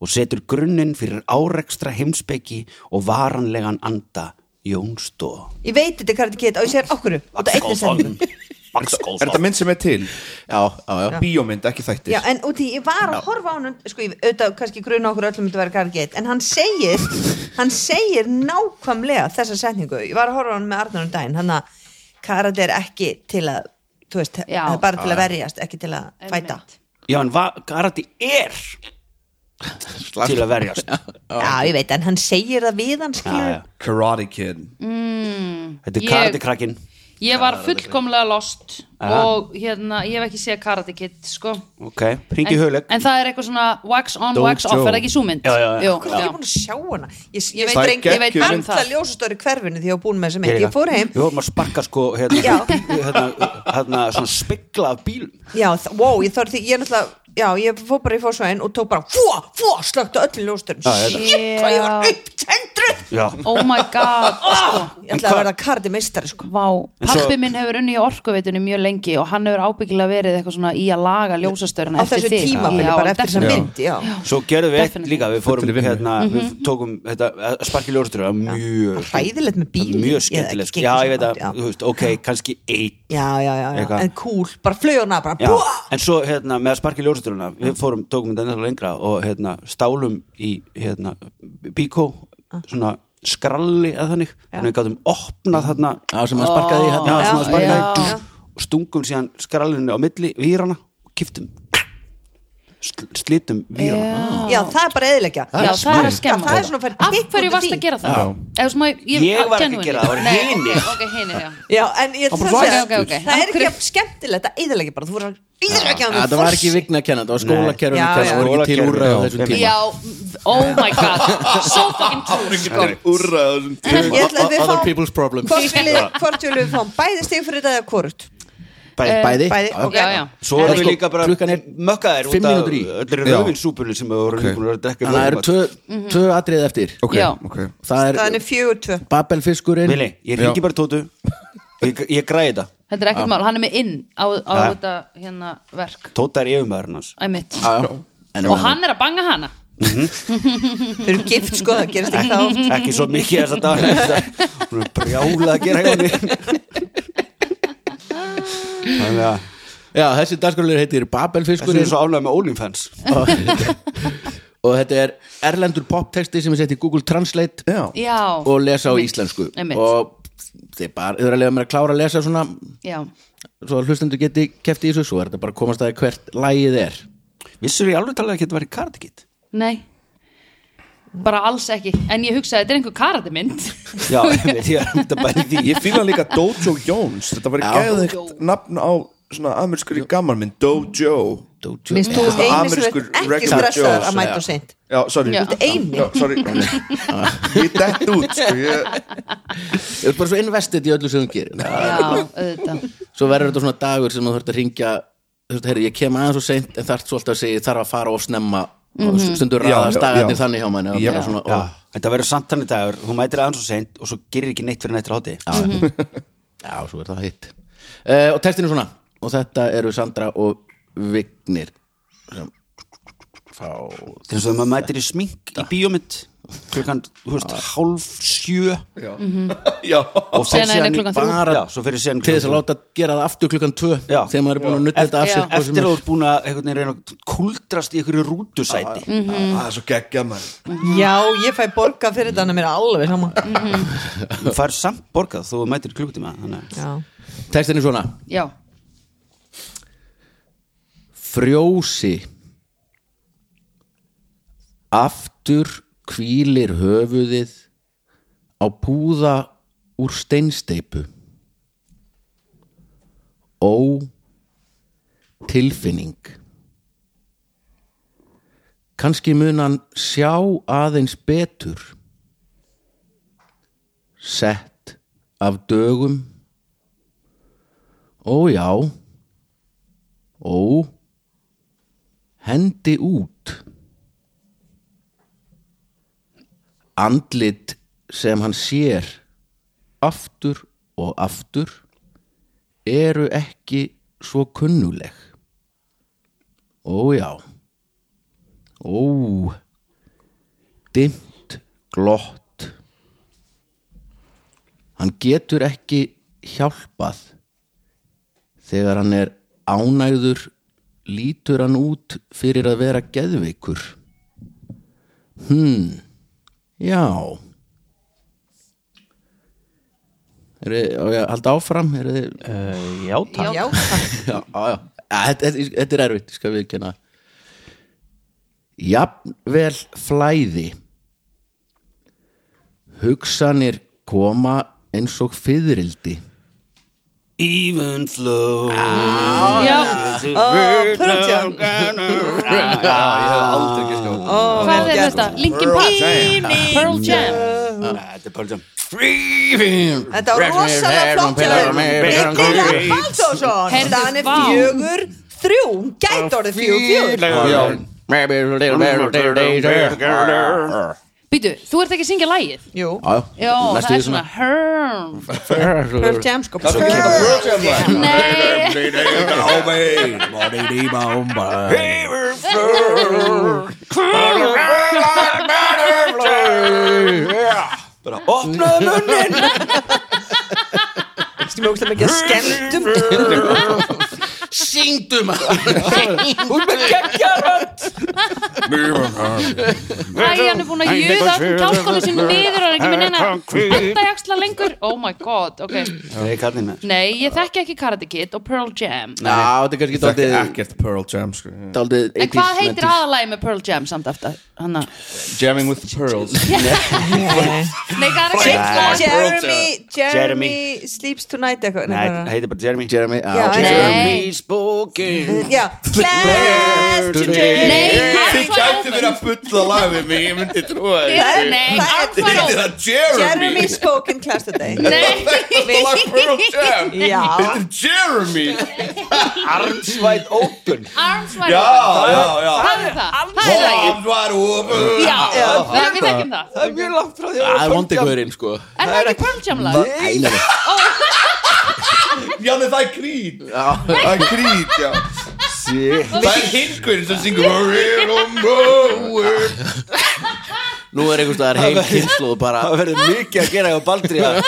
C: og setur grunninn fyrir árekstra heimspeki og varanlegan anda Jóns Dó.
D: Ég veit þetta hvað þetta getið og ég segir okkur út af einni sendin
F: Er þetta mynd sem er til?
B: já, já, já.
F: Bíómynd, ekki
D: Já,
F: þættir
D: en út í, ég var að horfa á hann sko, ég auðvitað kannski gruna okkur öllum þetta verið gargið, en hann segir hann segir nákvæmlega þessa setningu, ég var að horfa á hann með Arnar um daginn hann að karate er ekki til að þú veist,
E: Já.
D: það er bara til að verjast ekki til að fæta
E: Einmitt.
C: Já, en va- karate er til að verjast.
D: Já, ég veit, en hann segir það við hann
C: Já,
D: skilur
C: já.
F: Karate Kid
C: Þetta er
E: Ég-
C: karate krakkin.
E: Ég var fullkomlega lost
C: Aha.
E: og hérna, ég hef ekki séð Karate Kid sko.
C: Ok, ringi
E: en,
C: hugleik.
E: en það er eitthvað svona wax on,
C: Dojo.
E: wax off, er það ekki súmynd?
C: Já, já, já.
E: Jú,
D: Hvað er ég búin að sjá hana? Ég, ég veit,
F: Það er
D: dreng, ég veit
F: geggjuð mynd.
D: alla ljósustöru hverfinu því ég var búin með þessa mynd Ég fór heim,
C: Við vorum að sparka sko hérna,
D: Já.
C: hérna, hérna svona spegla af bílum
D: já, þ- wow, ég þorði ég er náttúrulega, já, ég fór bara í fórsvæðin og tók bara, fó, fó, slögt á öllum ljósustöru
C: Já,
D: Shit, hvað ég var
E: Já.
D: upptendruð
C: Já
E: Oh my god, sko
D: Ég ætla að verða kardi meistari, sko
E: Vá,
C: Ah! En svo-
E: pappi minn hefur unni í orkuveitunni mjög lengi og hann hefur ábyggilega verið eitthvað svona í að laga ljósastörna
D: Á þessu tímabili, bara eftir þessa mynd, já
C: Svo gerðum við eitt
E: Definitely.
C: líka, við fórum
F: Fullri vinnu.
C: hérna, við tókum þetta, eh, að sparki ljóstur, það var mjög
D: Hræðilegt með bíl
C: Mjög skemmtilegt, sko. já ég veit að, þú veist, ok, kannski eitt
D: Já, já, já, já,
C: Eitthvað.
D: en cool, bara flöguna, bara,
C: Já,
D: búa
C: en svo hérna með að sparki ljósasturuna við fórum, tókum þetta ennþá lengra og hérna stálum í hérna bíkó, svona skralli eða þannig, þannig við gátum opnað þarna,
B: Já, sem hann sparkaði í
C: já,
B: hérna.
C: svona
E: Já,
C: sparkaði
E: já.
C: dú, og stungum síðan skrallinu á milli vírana og kiftum Sl- slitum vírana
D: Já, það er bara eðilegja
E: Já, það er að skemma
D: Það er svona að fara
E: Af
D: hitt út
E: hverju
D: af
E: varst
D: því.
E: að gera það? Eða svona,
C: Ég var ekki að gera það, það voru
E: Nei,
C: hinir.
E: ok, Ok, hinir, já
D: Já, en ég ætla
E: bara
D: að segja,
E: ok, ok, ok.
D: það er ekki
E: Af
D: jafn skemmtilegt að eðilegja bara, þú voru að eðilegja
B: Þetta var ekki vigna að kenna, þetta var skólakerfinu
D: Já,
B: að kenna,
D: já.
B: það voru ekki til úrræði á þessum
F: Skólakerfinu,
B: tíma
E: Já, oh my god So fucking true, sko
F: Úrraða þessum
D: Ég ætla að við
B: Other
D: fáum-
B: people's problems
D: Hvort viljið- hvort viljum við fáum bæði stig fyrir þetta eða hvort?
B: Bæði, bæði,
D: bæði,
B: já, já.
D: ok.
E: Já, já
C: Svo erum við
B: sko,
C: líka bara
B: klukkan er
C: mökkaðir
B: fimm
C: út af
B: mínútur í.
C: öllir
F: Já.
C: rauðinsúpunni sem við vorum
F: Ok.
C: búin að drekka í
B: Þannig að það eru
C: morgunmat.
B: tvö, tvö atrið eftir
F: Ok,
E: Mhm. Já.
F: ok
B: Það
D: Það
B: er
D: er fjögur tvö
B: Babelfiskurinn
C: Vili, ég ringi
F: Já.
C: bara Tótu ég, ég græði þetta
E: Þetta er ekkert mál, hann er með inn á, á
C: Já.
E: þetta hérna verk
C: Tóta er yfirmaðurinn hans
E: Æmitt
B: Já, já. En-
E: Og hann er að banga hana
D: Þau eru gift sko, það gerist ekki þá
C: ekki svo mikið þess að dag hún er brjálað að gera eitthvað þannig að
B: Já, þessi dagskrálur
C: þessu
B: heitir
C: er
B: Babelfiskurinn
C: svo ánægð með OnlyFans
B: og, og þetta er erlendur poptexti sem er sett í Google Translate
F: Já.
E: Já
B: og lesa á íslensku
E: Einmitt.
B: og þið, bara, þið er að lega mér að klára að lesa svona
E: Já,
B: svo að hlustendur geti kefti í þessu svo er þetta bara að komast að því hvert lægið er
C: vissur ég alveg talað að geta verið kardikitt
E: nei Bara alls ekki En ég hugsaði, þetta er einhver karatemynd
C: já, ég veit, ég er að mynda bæði því
F: Ég fíla líka Dojo Jones Þetta var gæðið nafn á svona amerískri gammalmynd Dojo
B: Dojo
D: Minnst þú
F: Þetta er
D: einu sem
F: amerískur
D: er ekki
F: regular
D: stressaður
F: Joe,
D: að mæta
F: já.
D: og seint
F: Já, sorry
E: Já.
D: Þú ert eini.
F: Já, sorry Ég dett út sko ég...
B: Ég er bara svo investið í öllu sem þú gerir
E: Já, auðvitað
B: svo verður þetta svona dagur sem þú þurft að ringja þú veist, herri, ég kem aðeins og seint en þarf svolítið að segja, ég þarf að fara of snemma og stundur
F: Já,
B: ræðast
F: já,
B: dagarnir
F: já.
B: þannig hjá manni og
F: Já.
B: bara svona,
C: já,
B: ó,
C: þetta verður samt þannig dagur hún mætir aðeins og seint og svo gerir ekki neitt fyrir nættir hátti
B: já, svo er það hitt uh, og textin er svona og þetta eru Sandra og Vignir sem fá
C: til þess að maður mætir í smink í bíómynd klukkan, þú veist, hálf sjö
F: Já, já.
C: og
E: Síðan er
B: síðan
E: klukkan þrjú.
B: bara
C: já, svo fyrir síðan
B: til þess að láta gera það aftur klukkan tvö
C: Já.
B: þegar maður er búin að nutta þetta af
E: Já.
B: sér hvað sem
C: eftir
B: er.
C: að þú ert búin að einhvern veginn reyna að kuldrast í einhverju rútusæti
F: Það er svo geggja mann
D: Já, ég fæ borga fyrir þetta hann er mér alveg sama
C: þú fær samt borgað þú mætir í klukkutíma þannig að
D: Já,
B: textin er svona
E: Já,
B: frjósi aftur hvílir höfuðið á púða úr steinsteipu ó tilfinning kannski mun hann sjá aðeins betur sett af dögum ó já ó hendi út andlit sem hann sér aftur og aftur eru ekki svo kunnuleg ó já ó dimmt glott hann getur ekki hjálpað þegar hann er ánægður lítur hann út fyrir að vera geðveikur hmm já er þið að halda áfram er
C: já,
B: þið
D: já
E: já,
B: já, já, já. Ja, þetta, þetta- þetta er erfitt, ég skal við kenna Jafnvel flæði Hugsanir koma eins og fyðrildi
C: even flow
E: já.
D: Pörntján
F: Aldrei ekki sko
E: Hvað er þetta? Linkin Park Pearl Jam
C: þetta er Pearl Jam
D: Þetta var rosalega flott hjá þér. Nikkola Baltosson
E: Heyrðu,
D: Staðan er
E: vá.
D: fjögur Þrjú, hún gæti orðið fjögur fjögur
E: Býtu, þú ert ekki að syngja lægið
D: Jú,
E: Já, það er svona Herm
D: Pearl Jam sko
F: Pearl Jam lag.
E: Nei
C: bara opnaðu munnin
D: Stíma ógstlega mikið skemmtum
B: Syngdu maður
C: hún með geggjarönd
E: Æ, hann er búin að juða öllum kjálkónu sín niður og er ekki með neina bendajaksla lengur Oh my god, ok
C: það er kallinn með
E: Nei, ég þekki ekki Karate Kid og Pearl Jam
B: Já, þetta er kannski
F: Þetta er
B: daldið
F: ekkert Pearl Jam sko
B: Daldið
E: En hvað heitir aðalagi með Pearl Jam samt eftir? Hanna
F: Jamming with the Pearls
E: Nei, hvað er ekki eitt lag?
D: Jeremy, Jeremy
C: Jeremy.
D: sleeps tonight eitthvað
C: nei,
D: eitthvað.
C: það heitir bara Jeremy
B: Jeremy ah,
D: Já,
B: á,
D: en-
E: Nei,
C: spoken
D: Já, class today
E: nei
F: Þið gæti verið að bulla lag við mig Ég myndi trúa því
D: Það er-
E: Nei,
D: það er-
F: Þið heitir það Jeremy
D: Jeremy spoke in class today
E: Nei,
F: Þetta er lag Pearl Jam
D: Já,
F: Þetta er Jeremy
C: armsvæð open
E: Arms
F: Já,
E: Wide Open
F: já, já
E: Það er það, það er lagið
F: Hann var ofur
E: Já, það- við þekkjum það
B: Ah,
C: það er mjög langt frá því
B: Það er vondið guðurinn sko
E: Er það ekki Pearl Jam lag?
B: Æ, nei, nei.
E: Ó,
F: Já, nei, það er krít Það er krít, já
B: Shit.
F: Það er hingurinn sem syngur We're on road
B: Nú er einhvers staðar heim kynnslóð bara
C: það verður mikið að gera hjá Baldri að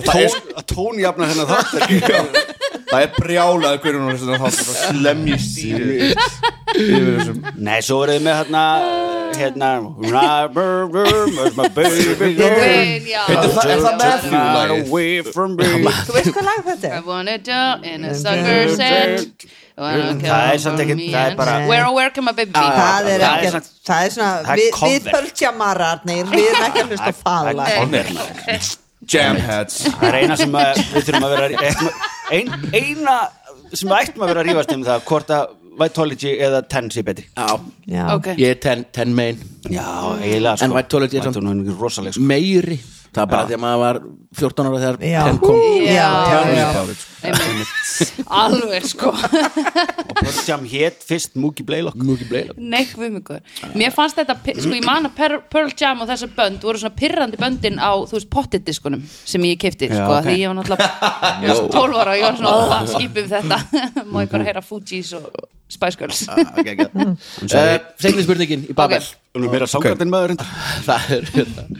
C: að tón- að tónjafna hennar þátt
F: Það er brjálað hverjum hún er svona þátt Það slemji stýri Yfir þessum
C: nei, svo verður með hérna hérna where's my baby girl
E: Wait, já.
F: Heitir það, er það Matthew
C: Not
F: lagið?
C: away from me
D: Þú veist hvað lag þetta
E: I
D: er?
E: wanna jump in a sucker set
C: Það er samt ekki- það er bara-
E: Where or where can my baby
C: Já,
E: be?
C: já.
D: Það er
C: það er
D: ekkert,
C: samt-
D: það er svona
C: það er
D: við-
C: cover.
D: við pöltjamararnir, við erum ekki að hlusta á það lag
F: Hann er
B: hérna.
F: maður. Jamheads
C: það er eina sem að, við þurfum að vera eitthvað- ein, eina sem við ættum að vera að rífast um það hvort að Vitology eða Ten sé betri
B: Já,
D: Já.
E: Ok,
B: ég er ten, ten main
C: já, eiginlega sko
B: En Vitology er samt-
C: Vitology er rosaleg sko
B: Meiri Það er bara því að maður var 14 ára þegar
D: Já.
B: ten kom
D: Já,
E: Já.
D: já.
E: einmitt. alveg sko
B: Mm.
C: Pörtjam hét fyrst Mookie Blaylock
B: Múki bleið
E: Nei, við mig guður Mér fannst þetta, pi- sko ég man að Per- Pearl Jam og þessi bönd voru svona pirrandi böndin á, þú veist, pottitdiskunum sem ég kefti,
C: Já,
E: sko,
C: ok.
E: okay. því ég var náttúrulega ég var svona 12 ára og ég var svona "Ó, það skipum þetta, má ég bara heyra Fugees og Spice Girls
C: Ah,
B: Segni Eh, spurningin í Babel
E: Ok.
C: Hún er meira sangrætt en maður reyndar.
B: Það er hérna.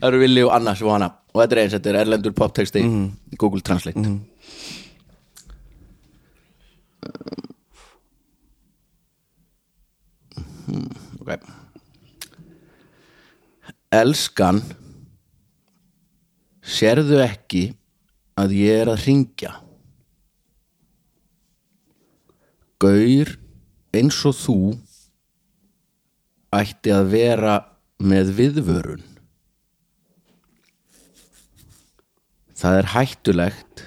B: Það eru Willi og Anna sem var hana Og þetta er eins, þetta er erlendur poptexti Google Translate Um, ok. Elskan Sérðu ekki að ég er að ringja Gaur eins og þú ætti að vera með viðvörun Það er hættulegt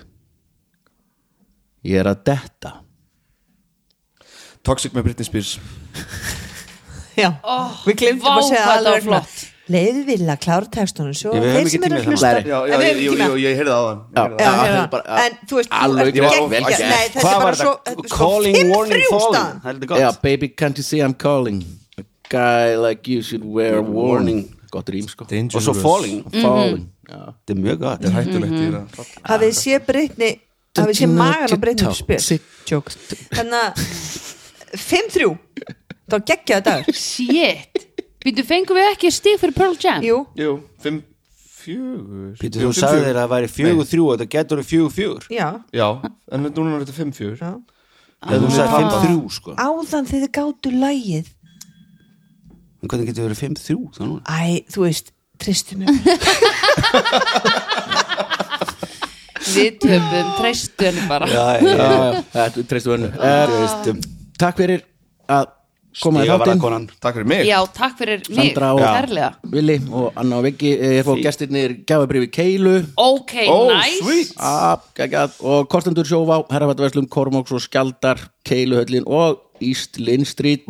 B: Ég er að detta
F: Toxic með Britney Spears
D: Já. Við glemtum
E: vá,
D: að segja
E: hvað
D: það
E: þetta var
D: alveg flott Leiði vilja að klára textunum svo
C: Ég, við höfum
D: þeir
C: ekki
D: sem eru
C: tíma hérna. í það.
B: Nei, nei.
D: að hlusta
F: Já, já,
D: En við höfum ekki
F: ég, ég, ég,
D: tíma.
F: ég heyrði á þann
D: Já,
B: Já,
D: hérna.
B: þetta er bara-
D: En þú veist, þú
B: Alveg
D: ert
B: vel
D: gegn-
B: gert.
D: Nei, þetta
C: Hvað
D: er bara
C: var
D: svo
C: þetta?
D: þetta er svo
C: Calling
D: fimm
C: warning
D: þrjú
C: falling Það
D: staðan.
C: er heldur
B: yeah,
C: gott
B: Baby can't you see I'm calling A guy like you should wear a warning Gott rým sko
C: Og svo falling
D: Mm-hmm.
B: Falling Já.
C: Þetta er mjög gott
F: Þetta er hættulegt í það
D: hafið þið sé Britni hafið þið sé magan á Britni spyr
B: Sit-
D: þannig að 5-3 þá geggja þetta
E: Shit, býtu fengum við ekki stíg fyrir Pearl Jam?
D: jú,
F: Jú, fimm, fjögur
C: Pítur,
F: Jú,
C: þú
F: fimm,
C: sagði
F: fjögur.
C: þér að það væri fjögur þrjú og þetta getur þér fjögur fjögur
D: já,
F: Já, en núna er þetta fimm, fjögur
D: já.
C: Þegar þú sagði fimm þrjú sko
D: áðan þegar þið gátu lægið
C: En hvernig getur verið fimm þrjú þá núna?
D: æ, þú veist, tristu mér
E: Við töpum, treystu henni bara
C: Já,
B: Þetta treystu önnu uh, Takk fyrir að koma
C: ég
B: að
C: var að
B: þáttinn
C: konan
F: Takk fyrir mig
E: Já, takk fyrir mig,
B: Sandra og
E: kærlega
B: Willi og Anna og Viggi eh, Ég fór gestirnir gjafabrifi Keilu
E: Ok,
F: Oh,
E: nice
F: sweet
B: Ah, geggjað. og Kostendur Sjóvá Herrafatverslum, Kormóks og Skjaldar Keiluhöllin og East Lynn Street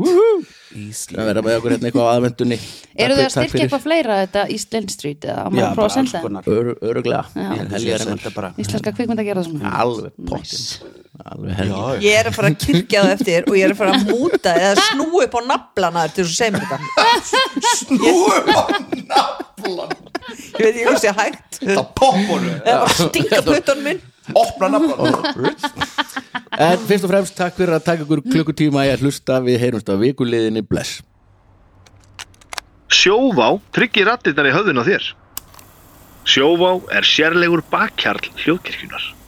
B: Íslinn að vera með okkur hérna eitthvað á aðvendunni
E: Eru þið að styrkja eitthvað fleira þetta East Lynn Street eða á maður
C: Já,
E: að
C: bara
E: prófa að
C: alls
E: senda þeim?
C: konar
B: Ör, öruglega,
E: Ég
C: Ég
B: helgar
C: senda bara
E: Íslenska kvikmynd að gera svona
B: alveg pottin alveg helgar
D: ég er að fara að kirkja það eftir og ég er að fara að múta eða snú upp á naflana til þess að segja mér þetta
F: Snúum á naflan
D: ég veit ekki hvað sé hægt
F: Það poppunum
D: eða bara stinga plötunum minn
F: Opna naflan
B: en fyrst og fremst takk fyrir að taka ykkur klukkutíma í að hlusta við heyrumst á vikuliðinni bless
A: Sjóvá tryggir rattirnar í höfðun á þér. Sjóvá er sérlegur bakkjarl hljóðkirkjunar.